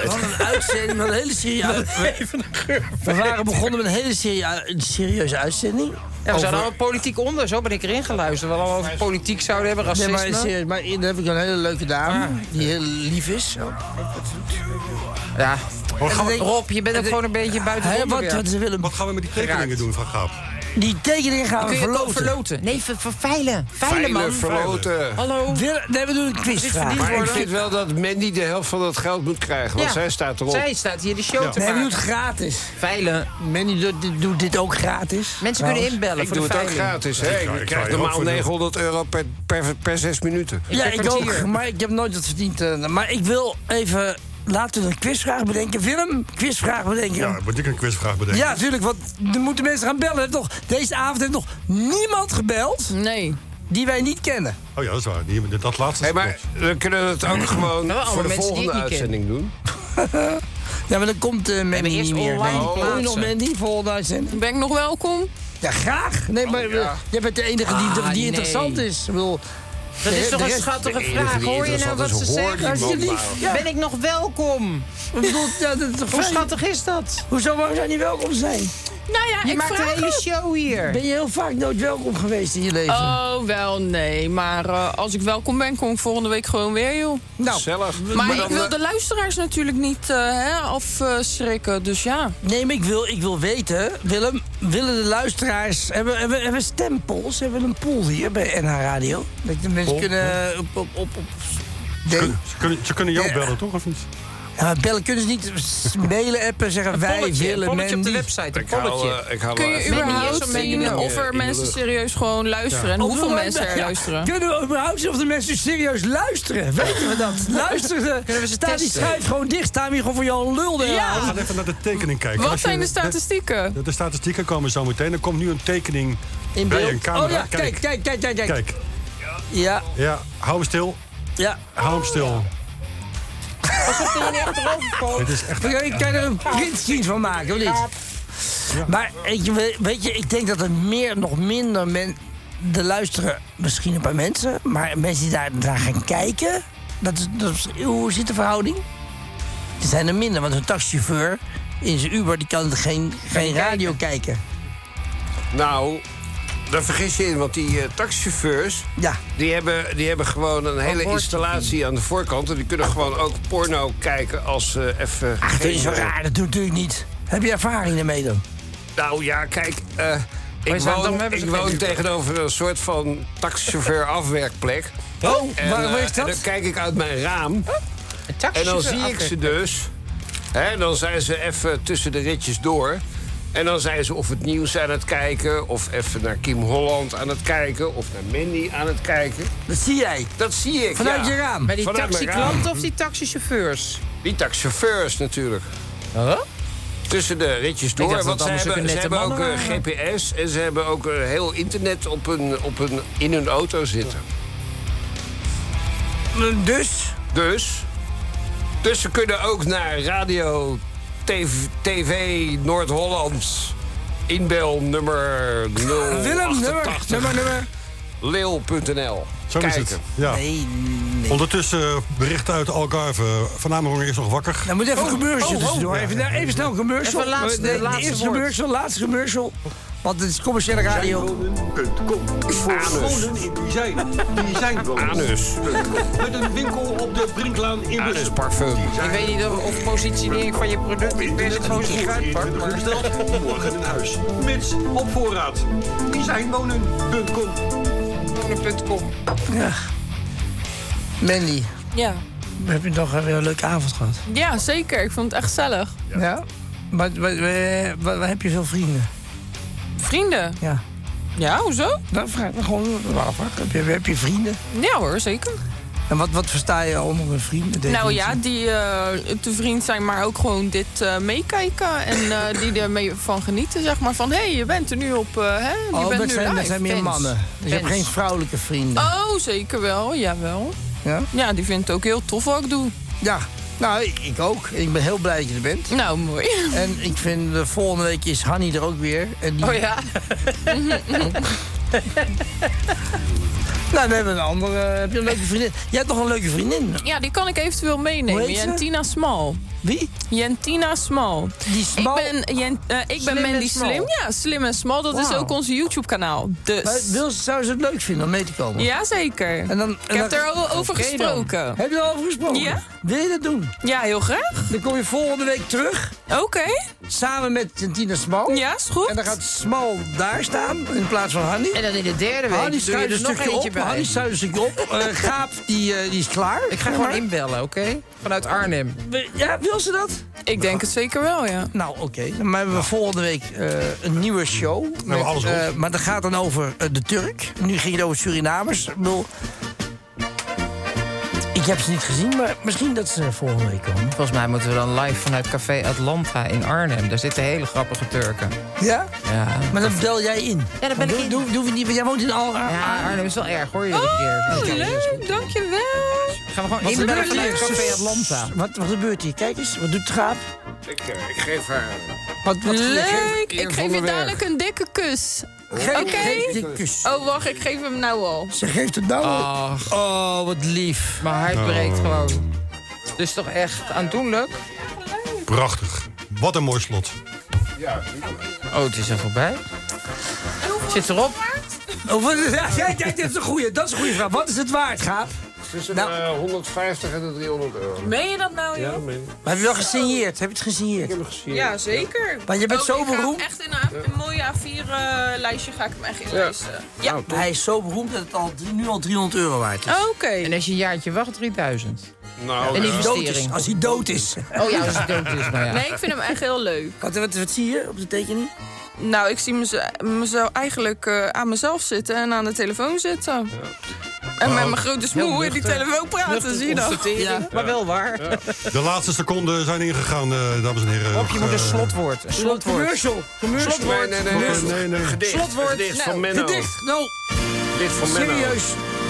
Speaker 2: hadden een uitzending, we hadden een hele serieuze...
Speaker 6: Even een geurvreter.
Speaker 2: We waren begonnen met een hele serie- een serieuze uitzending.
Speaker 6: Ja, we
Speaker 2: Over-
Speaker 6: zouden allemaal politiek onder, zo ben ik erin geluisterd. We hadden allemaal over politiek zouden hebben,
Speaker 2: Nee,
Speaker 6: racisme. Ah.
Speaker 2: maar, serieus, maar hier heb ik een hele leuke dame, die heel lief is.
Speaker 6: Ja.
Speaker 11: Wat gaan we-
Speaker 6: Rob, je bent ook gewoon een beetje buiten het
Speaker 2: Hè, wat,
Speaker 6: onderwerp.
Speaker 2: wat ze willen.
Speaker 11: Wat gaan we met die tekeningen doen van Gaap?
Speaker 2: Die tekeningen gaan we
Speaker 6: Kun je het ook
Speaker 2: verloten.
Speaker 6: verloten? Nee, ver, verveilen. Veilen, man.
Speaker 8: Veilen, verloten.
Speaker 6: Hallo.
Speaker 2: Wil- nee, we doen een quizvraag.
Speaker 8: Maar ik vind wel dat Mandy de helft van dat geld moet krijgen. Want
Speaker 6: Ja.
Speaker 8: zij staat erop.
Speaker 6: Zij staat hier de show te
Speaker 2: Nee,
Speaker 6: maken.
Speaker 2: we doen het gratis.
Speaker 6: Veilen.
Speaker 2: Manny doet, dit- doet dit ook gratis.
Speaker 6: Mensen
Speaker 2: Trouwens.
Speaker 6: kunnen inbellen
Speaker 8: Nou, Ik
Speaker 6: voor
Speaker 8: doe
Speaker 6: de
Speaker 8: het ook
Speaker 6: veiling.
Speaker 8: gratis. Hè?
Speaker 11: Ik zou-
Speaker 8: Ik
Speaker 11: ik
Speaker 8: krijg
Speaker 11: zou je ook
Speaker 8: normaal
Speaker 11: voor doen.
Speaker 8: 900 euro per, per, per zes minuten.
Speaker 2: Ja,
Speaker 6: per
Speaker 2: ik ook,
Speaker 6: kwartier.
Speaker 2: maar ik heb nooit wat verdiend. eh, maar ik wil even... Laten we een quizvraag bedenken. Willem, quizvraag bedenken.
Speaker 11: Ja, moet ik een quizvraag bedenken?
Speaker 2: Ja, natuurlijk, want er moeten mensen gaan bellen. Er heeft Nog, deze avond heeft nog niemand gebeld
Speaker 9: Nee.
Speaker 2: die wij niet kennen.
Speaker 11: Oh ja, dat is waar. Die, dat laatste
Speaker 8: Hey,
Speaker 11: is
Speaker 8: maar we kunnen het ook
Speaker 6: Nou,
Speaker 8: gewoon voor
Speaker 6: allemaal
Speaker 8: de
Speaker 6: mensen die ik
Speaker 8: volgende
Speaker 6: niet ken.
Speaker 8: uitzending doen.
Speaker 2: Ja, maar dan komt eh Mandy
Speaker 6: eerst
Speaker 2: niet meer.
Speaker 6: online
Speaker 2: Nee. Kom je
Speaker 6: plaatsen.
Speaker 2: nog, Mandy, volgende uitzending?
Speaker 9: Ben ik nog welkom?
Speaker 2: Ja, graag. Nee,
Speaker 8: Oh,
Speaker 2: maar eh, jij bent de enige die, die
Speaker 6: Ah, nee.
Speaker 2: interessant is. Ik bedoel,
Speaker 6: Dat
Speaker 2: de-
Speaker 6: is toch
Speaker 2: de
Speaker 6: een
Speaker 2: rest-
Speaker 6: schattige
Speaker 8: de enige
Speaker 6: vraag.
Speaker 8: die
Speaker 6: Hoor je nou
Speaker 8: interessant
Speaker 6: wat
Speaker 8: is,
Speaker 6: ze
Speaker 8: hoor die
Speaker 6: zeggen?
Speaker 8: man
Speaker 2: Alsjeblieft. Ja.
Speaker 6: Ben ik nog welkom?
Speaker 2: Ik bedoel, ja, dat is toch
Speaker 6: Hoe
Speaker 2: fijn?
Speaker 6: schattig is dat?
Speaker 2: Hoezo waarom zou je niet welkom zijn?
Speaker 9: Nou ja,
Speaker 6: Je
Speaker 9: ik
Speaker 6: maakt een
Speaker 9: vraag
Speaker 6: hele
Speaker 9: het.
Speaker 6: show hier.
Speaker 2: Ben je heel vaak nooit welkom geweest in je leven?
Speaker 9: Oh, wel nee. Maar eh, als ik welkom ben, kom ik volgende week gewoon weer, joh.
Speaker 2: nou,
Speaker 8: Zelf.
Speaker 9: Maar,
Speaker 8: Maar
Speaker 9: ik
Speaker 8: dan,
Speaker 9: wil
Speaker 8: eh,
Speaker 9: de luisteraars natuurlijk niet eh, hè, afschrikken, dus ja.
Speaker 2: nee, maar ik wil, ik wil weten, Willem, willen de luisteraars... Hebben, hebben, hebben we stempels? Hebben we een pool hier bij NH Radio? Dat de mensen
Speaker 5: Oh.
Speaker 11: Pool,
Speaker 2: kunnen eh, op... op, op, op
Speaker 11: Ze kunnen, ze, kunnen, ze kunnen jou bellen, toch? Of niet?
Speaker 2: ja, maar bellen kunnen ze niet s- mailen, appen, zeggen wij
Speaker 6: Polletje, een
Speaker 2: willen
Speaker 6: polletje op de
Speaker 2: Mandy.
Speaker 6: website, een
Speaker 8: ik hou,
Speaker 6: polletje.
Speaker 8: eh, ik hou
Speaker 9: Kun
Speaker 8: wel
Speaker 9: je
Speaker 8: even-
Speaker 9: überhaupt
Speaker 6: Mandy is
Speaker 9: zien
Speaker 6: er
Speaker 2: eh,
Speaker 9: of
Speaker 8: in
Speaker 9: er
Speaker 8: de
Speaker 9: mensen
Speaker 8: lucht.
Speaker 9: serieus gewoon luisteren? En
Speaker 2: Of
Speaker 9: hoeveel
Speaker 2: willen we-
Speaker 9: mensen er
Speaker 2: ja,
Speaker 9: luisteren?
Speaker 2: Kunnen we überhaupt zien of de mensen serieus luisteren? Weten we dat? Luisteren
Speaker 6: Kunnen we ze
Speaker 2: Staat die
Speaker 6: testen?
Speaker 2: schijf gewoon dicht? Staan we hier gewoon voor jou een lul? de hele
Speaker 9: Ja.
Speaker 2: avond?
Speaker 11: Ga even naar de tekening kijken.
Speaker 9: Wat
Speaker 11: Als je-
Speaker 9: zijn de
Speaker 11: de-
Speaker 9: statistieken?
Speaker 11: De, de statistieken komen zo meteen. Er komt nu een tekening
Speaker 2: In
Speaker 11: bij
Speaker 2: beeld.
Speaker 11: een camera.
Speaker 2: Oh ja, kijk, kijk, kijk, kijk. kijk.
Speaker 11: Kijk.
Speaker 2: Ja,
Speaker 11: Ja, hou hem stil.
Speaker 2: ja.
Speaker 11: Hou hem stil.
Speaker 6: Alsof er een achterover komt.
Speaker 11: Het is echt...
Speaker 2: Ik kan- Ik kan er een printscreen van maken, of niet? Maar weet je, weet je, ik denk dat er meer, nog minder men, er luisteren misschien een paar mensen, maar mensen die daar naar gaan kijken, dat is, dat is- hoe zit de verhouding? Er zijn er minder, want een taxichauffeur in zijn Uber die kan geen, geen radio kijken.
Speaker 8: Nou, daar vergis je in, want die eh, taxichauffeurs...
Speaker 2: Ja.
Speaker 8: Die hebben, die hebben gewoon een hele
Speaker 6: wordt-
Speaker 8: installatie aan de voorkant. En die kunnen gewoon ook porno kijken als ze even...
Speaker 2: Ach, dat is
Speaker 8: geen-
Speaker 2: zo raar, dat doe ik natuurlijk niet. Heb je ervaring ermee dan?
Speaker 8: Nou ja, kijk... eh, ik
Speaker 6: in Zandam
Speaker 8: woon,
Speaker 6: hebben ze
Speaker 8: ik
Speaker 6: geen
Speaker 8: woon
Speaker 6: Uber.
Speaker 8: tegenover een soort van taxichauffeur afwerkplek.
Speaker 2: Oh,
Speaker 8: En,
Speaker 2: waar,
Speaker 8: eh,
Speaker 2: waar is
Speaker 8: en
Speaker 2: dat?
Speaker 8: dan kijk ik uit mijn raam. En dan zie ik ze dus. Hè, dan zijn ze even tussen de ritjes door. En dan zijn ze of het nieuws aan het kijken... of even naar Kim Holland aan het kijken... of naar Mandy aan het kijken.
Speaker 2: Dat zie jij.
Speaker 8: Dat zie ik,
Speaker 2: Vanuit
Speaker 8: ja.
Speaker 2: je raam.
Speaker 6: Bij die
Speaker 8: Vanuit mijn raam.
Speaker 6: taxiklanten of die taxichauffeurs?
Speaker 8: Die taxichauffeurs natuurlijk.
Speaker 6: Huh?
Speaker 8: Tussen de ritjes
Speaker 6: Ik
Speaker 8: door.
Speaker 6: dacht
Speaker 8: Want
Speaker 6: dat
Speaker 8: ze
Speaker 6: het
Speaker 8: hebben,
Speaker 6: allemaal
Speaker 8: ze
Speaker 6: zulke
Speaker 8: hebben ook
Speaker 6: nette
Speaker 8: eh,
Speaker 6: mannen
Speaker 8: GPS en ze hebben ook eh, heel internet op hun, op hun, in hun auto zitten.
Speaker 2: Dus?
Speaker 8: Dus? Dus ze kunnen ook naar radio TV, TV Noord-Holland. Inbel nummer 0.
Speaker 2: Willem, nummer, nummer, nummer.
Speaker 8: Leeuw.nl.
Speaker 5: Zo is het. Ja. Ondertussen eh, berichten uit Algarve. Van Amerongen is nog wakker.
Speaker 2: Dan moet even
Speaker 11: Oh.
Speaker 2: een commercial tussendoor.
Speaker 5: Ja.
Speaker 2: Even, nou, Oh, even snel een commercial. Eh,
Speaker 5: Even laatste-
Speaker 2: de, de
Speaker 5: laatste
Speaker 2: eerste
Speaker 5: woord.
Speaker 2: commercial, laatste commercial. Want het is commerciële radio.
Speaker 11: Voor wonen in Dizijn. Dizijnwonen.
Speaker 8: Anus.
Speaker 11: Met een winkel op de Brinklaan in Bussen.
Speaker 8: parfum.
Speaker 6: Ik weet niet of, of positionering van je product ik ben het gewoon zo
Speaker 11: In
Speaker 6: uitpakt.
Speaker 11: 20 uur
Speaker 6: maar-
Speaker 11: besteld, morgen in huis. Mits op voorraad. Dizijnwonen.com
Speaker 6: Wonen.com
Speaker 2: Ja. Mandy,
Speaker 9: Ja.
Speaker 2: we hebben nog eh, weer een leuke avond gehad.
Speaker 9: ja, zeker. Ik vond het echt gezellig.
Speaker 2: Ja. Maar maar, eh, waar, waar heb je veel vrienden?
Speaker 9: Vrienden?
Speaker 2: Ja.
Speaker 9: Ja, hoezo?
Speaker 2: Dan vraag ik me gewoon af. Heb je, heb je vrienden?
Speaker 9: Ja hoor, zeker.
Speaker 2: En wat, wat versta je onder een vrienden?
Speaker 9: Nou ja, die eh, te vriend zijn, maar ook gewoon dit eh, meekijken. En eh, die ermee van genieten, zeg maar. Van, hé, hey, je bent er nu op, eh, hè? Je
Speaker 2: Oh,
Speaker 9: bent
Speaker 2: dat
Speaker 9: nu
Speaker 2: zijn, dat
Speaker 9: live.
Speaker 2: zijn meer
Speaker 9: Fans.
Speaker 2: mannen. Dus je hebt
Speaker 9: Fans.
Speaker 2: geen vrouwelijke vrienden.
Speaker 9: Oh, zeker wel. Jawel.
Speaker 2: Ja?
Speaker 9: Ja, die vindt het ook heel tof wat ik doe.
Speaker 2: Ja, nou, ik, ik ook. En ik ben heel blij dat je er bent.
Speaker 9: Nou, mooi.
Speaker 2: En ik vind, de volgende week is Hanny er ook weer. En die...
Speaker 9: Oh ja.
Speaker 2: Nou, dan hebben we een andere... Heb je een leuke vriendin? Jij hebt nog een leuke vriendin.
Speaker 9: Ja, die kan ik eventueel
Speaker 2: Hoe
Speaker 9: meenemen.
Speaker 2: heet ze?
Speaker 9: Jentina Smal.
Speaker 2: Wie?
Speaker 9: Jentina Smal.
Speaker 2: Die Smal?
Speaker 9: Ik ben, Jen- eh, ik
Speaker 2: Slim
Speaker 9: ben
Speaker 2: en
Speaker 9: Mandy
Speaker 2: Smal.
Speaker 9: Slim. Ja, Slim en Smal. Dat is
Speaker 2: Wauw.
Speaker 9: ook ons YouTube-kanaal. Dus...
Speaker 2: Maar wil, ze- zou ze het leuk vinden om mee te komen?
Speaker 9: Jazeker.
Speaker 2: En dan,
Speaker 9: Ik heb er al over
Speaker 2: Oké dan.
Speaker 9: gesproken.
Speaker 2: Heb je er al over gesproken?
Speaker 9: Ja.
Speaker 2: Wil je dat doen?
Speaker 9: Ja, heel graag.
Speaker 2: Dan kom je volgende week terug.
Speaker 9: Oké.
Speaker 2: Samen met Tina Smal.
Speaker 9: Ja, is goed.
Speaker 2: En dan gaat Smal daar staan in plaats van Hanny.
Speaker 6: En dan in de derde week
Speaker 2: Hanny
Speaker 6: doe je
Speaker 2: schuift een
Speaker 6: er nog
Speaker 2: stukje
Speaker 6: eentje
Speaker 2: op.
Speaker 6: bij.
Speaker 2: Hanny schuift een stukje op. Eh, Gaap, die, eh, die is klaar.
Speaker 6: Ik ga gewoon inbellen, oké? Vanuit Arnhem.
Speaker 2: Ja, wil ze dat?
Speaker 9: Ik denk het zeker wel, ja.
Speaker 2: Nou, oké. Dan hebben we volgende week eh, een nieuwe show. Met,
Speaker 5: alles op.
Speaker 2: eh, maar dat gaat dan over eh, de Turk. Nu ging het over Surinamers. Ik bedoel... Ik heb ze niet gezien, maar misschien dat ze volgende week komen.
Speaker 6: Volgens mij moeten we dan live vanuit Café Atlanta in Arnhem. Daar zitten hele grappige Turken.
Speaker 2: Ja?
Speaker 6: Ja.
Speaker 2: Maar dan bel jij in.
Speaker 6: Ja, dan ben ik in.
Speaker 2: Doe, doe, niet, want jij woont in Al...
Speaker 6: Ja, Arnhem is wel erg, hoor je dit
Speaker 9: Oh,
Speaker 6: keer.
Speaker 9: leuk. Dankjewel.
Speaker 6: Gaan we gewoon
Speaker 2: Wat
Speaker 6: inbellen
Speaker 2: gebeurt
Speaker 6: vanuit
Speaker 2: hier?
Speaker 6: Café Atlanta.
Speaker 2: Wat, wat gebeurt hier? Kijk eens, wat doet de gaap?
Speaker 8: Ik, eh, ik geef haar.
Speaker 2: Wat, wat
Speaker 9: Leuk.
Speaker 8: Eer
Speaker 9: Ik
Speaker 8: van
Speaker 9: geef
Speaker 8: den
Speaker 9: je
Speaker 8: Berg.
Speaker 9: dadelijk een dikke kus.
Speaker 2: Geef-
Speaker 9: Oké?
Speaker 2: geef die kus.
Speaker 9: Oh, wacht. Ik geef hem nou al.
Speaker 2: Ze geeft het nou.
Speaker 6: Ach.
Speaker 2: Oh, wat lief.
Speaker 6: Mijn
Speaker 5: Oh.
Speaker 6: hart breekt gewoon. Dus toch echt aandoenlijk?
Speaker 5: Prachtig. Wat een mooi slot.
Speaker 6: Oh, het is er voorbij. Zit erop.
Speaker 2: Oh, wat is- ja, ja, kijk, dit is een goeie. Dat is een goede vraag. Wat is het waard, gaap?
Speaker 8: Tussen
Speaker 2: Nou.
Speaker 8: de 150 en de 300 euro.
Speaker 9: Meen je dat nou, joh?
Speaker 2: Maar heb je wel gesigneerd? Heb je het gesigneerd?
Speaker 9: Ja, zeker.
Speaker 2: Maar je bent
Speaker 9: Oh,
Speaker 2: zo
Speaker 9: ik ga hem
Speaker 2: beroemd.
Speaker 9: echt in een, een mooi A4-lijstje eh, ga ik hem echt inlezen. Ja.
Speaker 2: Hij is zo beroemd dat het al, nu al 300 euro waard is.
Speaker 9: Oké.
Speaker 6: En als je een jaartje wacht, 3000.
Speaker 8: Nou,
Speaker 6: Een
Speaker 2: Als hij dood is.
Speaker 6: investering.
Speaker 2: Als hij dood is.
Speaker 6: Oh ja, als het dood is, nou ja.
Speaker 9: Nee, ik vind hem echt heel leuk.
Speaker 2: Wat, wat, wat zie je op de tekening?
Speaker 9: Nou, ik zie mez- mezelf eigenlijk eh, aan mezelf zitten en aan de telefoon zitten. En
Speaker 2: Oh.
Speaker 9: met mijn grote smoel in die telefoon praten, zie je dat?
Speaker 6: Ja, maar wel waar.
Speaker 5: De laatste seconden zijn ingegaan, eh, dames en heren.
Speaker 6: Op, je moet een
Speaker 5: Eh,
Speaker 6: slotwoord. Een slotwoord.
Speaker 2: Commercial.
Speaker 8: Nee,
Speaker 2: Commercial.
Speaker 8: nee, nee.
Speaker 5: Slotwoord.
Speaker 8: nee.
Speaker 5: Nee, nee.
Speaker 8: Gedicht.
Speaker 2: Slotwoord.
Speaker 8: Gedicht van
Speaker 2: Nou,
Speaker 8: Menno.
Speaker 2: Gedicht. Nou,
Speaker 8: Gedicht van Menno.
Speaker 2: serieus.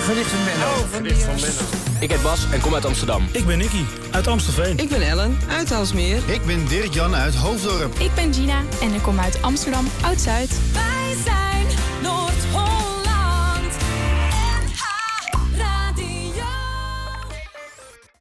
Speaker 2: Gedicht van Menno.
Speaker 8: Gedicht van Menno.
Speaker 4: Ik heet Bas en kom uit Amsterdam.
Speaker 25: Ik ben Nicky uit Amstelveen.
Speaker 26: Ik ben Ellen uit Alsmeer.
Speaker 25: Ik ben Dirk-Jan uit Hoofddorp.
Speaker 10: Ik ben Gina en ik kom uit Amsterdam, Oud-Zuid.